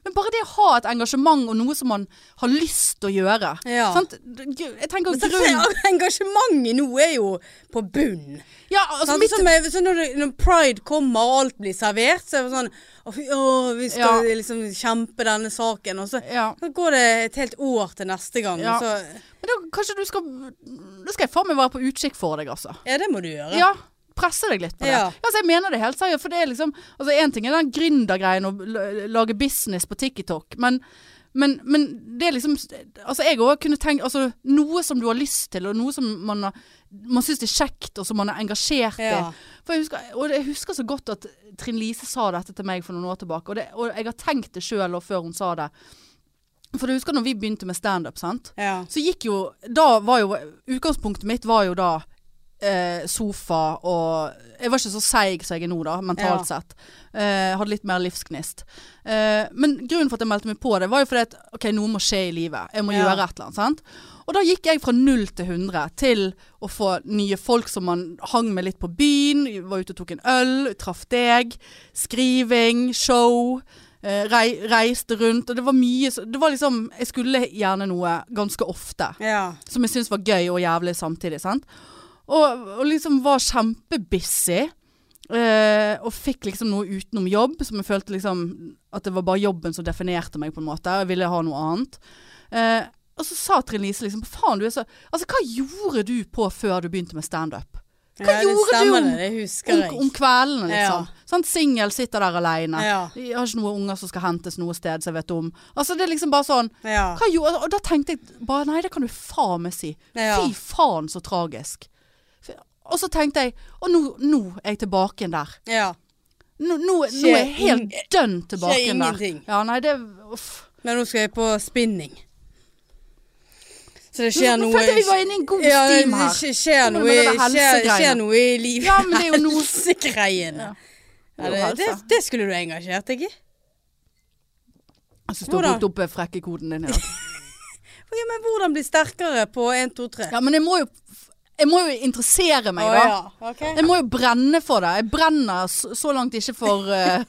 S1: Men bare det å ha et engasjement og noe som man har lyst til å gjøre.
S2: Ja.
S1: Sant? Jeg tenker
S2: Så
S1: grunn...
S2: [laughs] engasjementet nå er jo på bunn.
S1: Ja, altså
S2: Sant?
S1: mitt...
S2: Som jeg- Sånn så når, det- når pride kommer og alt blir servert, så er det sånn Å, fy, å vi skal liksom kjempe denne saken. Og så,
S1: Ja.
S2: så går det et helt år til neste gang.
S1: Ja.
S2: Og så,
S1: Men da kanskje du skal Da skal jeg faen meg være på utkikk for deg, altså.
S2: ja, det må du gjøre.
S1: Ja. Presse deg litt på det.
S2: Ja.
S1: Altså, jeg mener det helt seriøst. For det er liksom Altså, én ting er den gründergreien og l- lage business på TikTok, men men, men det er liksom Altså, jeg òg kunne tenkt Altså, noe som du har lyst til, og noe som man har Man syns det er kjekt, og som man er engasjert
S2: Ja.
S1: i. For jeg husker, og jeg husker så godt at Trine Lise sa dette til meg for noen år tilbake, og, det, og jeg har tenkt det sjøl og før hun sa det. For du husker når vi begynte med standup, sant?
S2: Ja.
S1: Så gikk jo Da var jo Utgangspunktet mitt var jo da eh, sofa og Jeg var ikke så seig som jeg er nå, da, mentalt sett. Eh, hadde litt mer livsgnist. Eh, men grunnen for at jeg meldte meg på det, var jo fordi at OK, noe må skje i livet. Jeg må
S2: Ja.
S1: gjøre et eller annet. sant? Og da gikk jeg fra null til 100 til å få nye folk som man hang med litt på byen. Var ute og tok en øl. Traff deg. Skriving. Show. eh, Rei, reiste rundt, og det var mye så- Det var liksom Jeg skulle gjerne noe ganske ofte
S2: ja.
S1: som jeg syntes var gøy og jævlig samtidig. Sant? Og, og liksom var kjempebusy. eh, og fikk liksom noe utenom jobb, som jeg følte liksom at det var bare jobben som definerte meg, på en måte. og Jeg ville ha noe annet. Eh, og så sa Trine Lise liksom Faen, du er så Altså, hva gjorde du på før du begynte med standup? Hva
S2: ja, det
S1: gjorde
S2: stemmer
S1: du om-
S2: det. Det husker
S1: Om,
S2: jeg.
S1: om kveldene,
S2: Ja.
S1: liksom. Sånn singel, sitter der aleine.
S2: Ja.
S1: Jeg har ikke noen unger som skal hentes noe sted som jeg vet om. Altså, det er liksom bare sånn
S2: ja.
S1: hva gjorde, og da tenkte jeg bare Nei, det kan du faen meg si.
S2: Ja.
S1: Fy faen så tragisk. F- Og så tenkte jeg Og nå, nå er jeg tilbake igjen der.
S2: ja.
S1: Nå, nå, nå
S2: Skjer
S1: er jeg helt dønn tilbake
S2: skjer
S1: igjen der.
S2: ingenting.
S1: Ja, nei, det uff.
S2: Men nå skal jeg på spinning. Så det
S1: Nå
S2: skjer
S1: nå
S2: noe
S1: følte jeg vi var inne i en god
S2: Ja, det
S1: stim her.
S2: skj- skjer
S1: Nå
S2: noe,
S1: med
S2: i-
S1: denne
S2: skjer,
S1: helsegreiene.
S2: skjer noe i livet.
S1: Ja, men det er jo noe-
S2: [laughs] Helsegreiene.
S1: Ja.
S2: Ja,
S1: Det er jo altså.
S2: det, det,
S1: helse.
S2: det skulle du engasjert deg i.
S1: Jeg syns du har
S2: Hvordan?
S1: brukt opp eh, frekkekoden din i dag.
S2: Å, Ja, men hvordan bli sterkere på 1, 2, 3?
S1: Ja, men jeg må jo Jeg må jo interessere meg, da.
S2: ja. ok.
S1: Jeg må jo brenne for det. Jeg brenner så så langt ikke for [laughs] uh,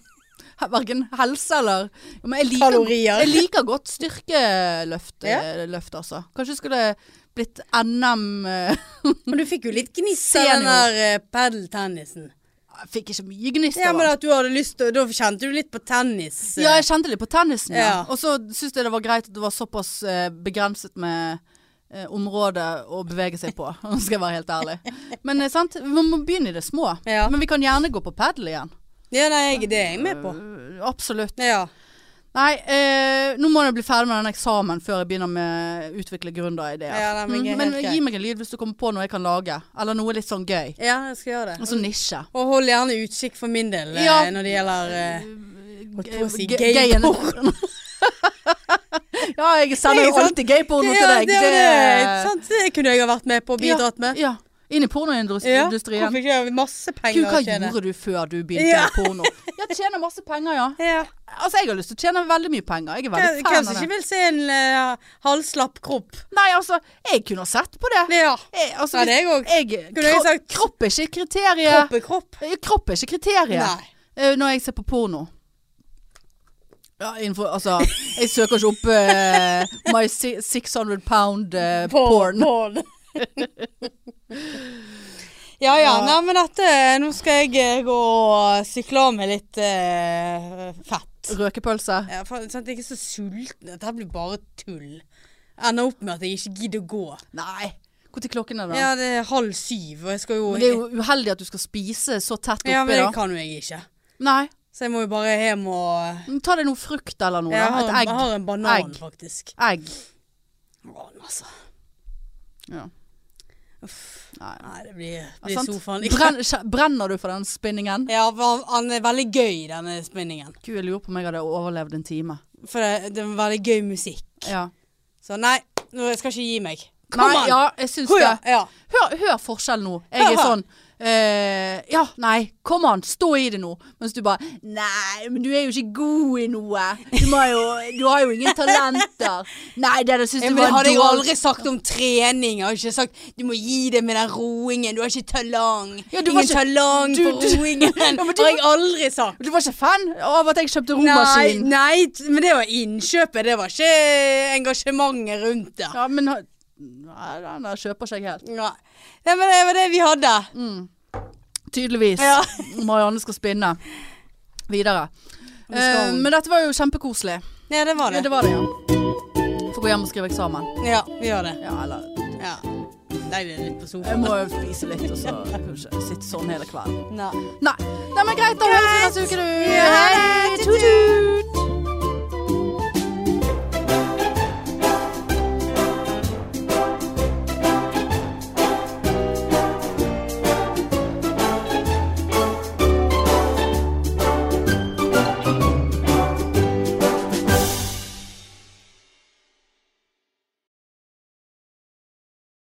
S1: verken helse eller Ja, men jeg liker,
S2: Kalorier.
S1: Jeg liker godt styrkeløft,
S2: Ja.
S1: eh, løft, altså. Kanskje skulle blitt NM eh, [laughs]
S2: Men du fikk jo litt gnist av den
S1: Senior.
S2: der eh, padeltennisen.
S1: Jeg fikk ikke mye gnist
S2: Ja,
S1: av
S2: men
S1: det.
S2: at du hadde lyst til Da kjente du litt på tennis. eh.
S1: Ja, jeg kjente litt på tennisen, ja.
S2: Ja.
S1: Og så syntes jeg det var greit at det var såpass eh, begrenset med eh, område å bevege seg på, [laughs] om jeg skal være helt ærlig. Men eh, sant, man må begynne i det små.
S2: Ja.
S1: Men vi kan gjerne gå på padel igjen.
S2: ja nei, jeg, det er jeg med på.
S1: Eh, Absolutt.
S2: Ja.
S1: Nei, eh, nå må jeg bli ferdig med den eksamen før jeg begynner med å utvikle gründerideer.
S2: Ja, nei, men
S1: Mm,
S2: helt
S1: men
S2: greit.
S1: gi meg en lyd hvis du kommer på noe jeg kan lage. Eller noe litt sånn gøy.
S2: ja, jeg skal gjøre det.
S1: Altså nisje.
S2: Og hold gjerne utkikk for min del eh,
S1: Ja.
S2: når det gjelder eh, holdt på å si
S1: G-
S2: gay
S1: gayen-
S2: porn. [laughs]
S1: ja, jeg sender jo
S2: Ikke sant?
S1: alltid gayporno til deg.
S2: det, det, sant? det kunne jeg ha vært med på og bidratt med.
S1: Ja. Inn i
S2: Ja,
S1: pornoindustrien.
S2: Hvorfor ikke? Jeg har Masse
S1: Gud,
S2: penger
S1: hva
S2: å tjene.
S1: gjorde du før du begynte
S2: Ja.
S1: i porno? Ja, tjener masse penger, ja.
S2: Ja.
S1: Altså, jeg har lyst til å tjene veldig mye penger. Jeg er
S2: Hvem
S1: veldig
S2: hvem
S1: fan
S2: som
S1: av
S2: ikke
S1: det.
S2: vil se en eh, halvslapp kropp?
S1: Nei, altså, jeg kunne ha sett på det.
S2: Ja.
S1: Jeg, altså,
S2: Ja, det er jeg òg.
S1: jeg,
S2: Kunne jeg
S1: kro-
S2: sagt-
S1: kropp er ikke kriteriet.
S2: Kropp er kropp.
S1: Eh, Kropp er ikke kriteriet
S2: Nei.
S1: eh, når jeg ser på porno. Ja, innenfor, altså, jeg søker ikke opp eh, my si- 600 pound eh, porn.
S2: [laughs] ja ja,
S1: Ja.
S2: nei men dette Nå skal jeg eh, gå og sykle av meg litt eh, fett.
S1: Røkepølse.
S2: Ja, for, sånn at jeg er så sulten. Dette blir bare tull. Ender opp med at jeg ikke gidder å gå.
S1: Nei. Når klokken er det?
S2: Ja, det er halv syv, og jeg skal jo
S1: Men det er jo uheldig at du skal spise så tett oppi,
S2: Ja, men det
S1: da.
S2: kan jo jeg ikke.
S1: Nei.
S2: Så jeg må jo bare hjem og
S1: Men Ta deg noe frukt eller noe.
S2: Jeg
S1: da.
S2: har,
S1: Et
S2: jeg
S1: egg.
S2: har en banan,
S1: Egg.
S2: faktisk.
S1: egg.
S2: Faen, altså.
S1: Ja. Nei.
S2: Nei, det blir,
S1: Ja,
S2: blir
S1: sant?
S2: sofaen. [laughs] Ikke-
S1: Brenn, kje- brenner du for den spinningen?
S2: Ja, for han er veldig gøy, denne spinningen.
S1: Gud, jeg lurer på om jeg hadde overlevd en time.
S2: For eh, det, det er veldig gøy musikk.
S1: Ja.
S2: Så nei, nå jeg skal ikke gi meg. Kom
S1: Nei,
S2: an!
S1: ja, jeg syns
S2: Kom
S1: det.
S2: igjen! Ja.
S1: Hør, hør forskjell nå. Jeg er
S2: Hør, hør.
S1: sånn eh, Ja, nei, kom an, stå i det nå. Mens du bare Nei, men du er jo ikke god i noe. Du, må jo, du har jo ingen talenter. Nei, det der syns
S2: Ja,
S1: du
S2: men det
S1: var
S2: hadde jeg jo
S1: dårlig.
S2: aldri sagt om trening. Jeg har ikke sagt 'du må gi det med den roingen', du har ikke talang.
S1: Ja, du har
S2: Ingen
S1: ikke-
S2: talang
S1: du-
S2: på
S1: du-
S2: roingen.
S1: [laughs] Ja, men du-
S2: har jeg aldri sagt.
S1: Du var ikke fan av at jeg kjøpte
S2: Nei,
S1: romaskin?
S2: nei, t- men det var innkjøpet, det var ikke engasjementet rundt det.
S1: Ja, men ha- Nei, den der kjøper ikke jeg helt.
S2: Nei. Nei, men det var det vi hadde.
S1: Mm. Tydeligvis.
S2: Ja.
S1: Marianne skal spinne videre.
S2: Det skal
S1: Eh,
S2: hun.
S1: men dette var jo kjempekoselig.
S2: Ja, det var
S1: Ja,
S2: det.
S1: det var det, ja. Får gå hjem og skrive eksamen.
S2: Ja, vi gjør det.
S1: Ja, eller
S2: Ja. Deilig litt på
S1: Jeg
S2: sofaen.
S1: må jo spise litt, og så kanskje sitte sånn hele kvelden.
S2: Nei.
S1: Nei. Nei, men greit, da høres vi neste uke, du.
S2: Hei, tut-tut!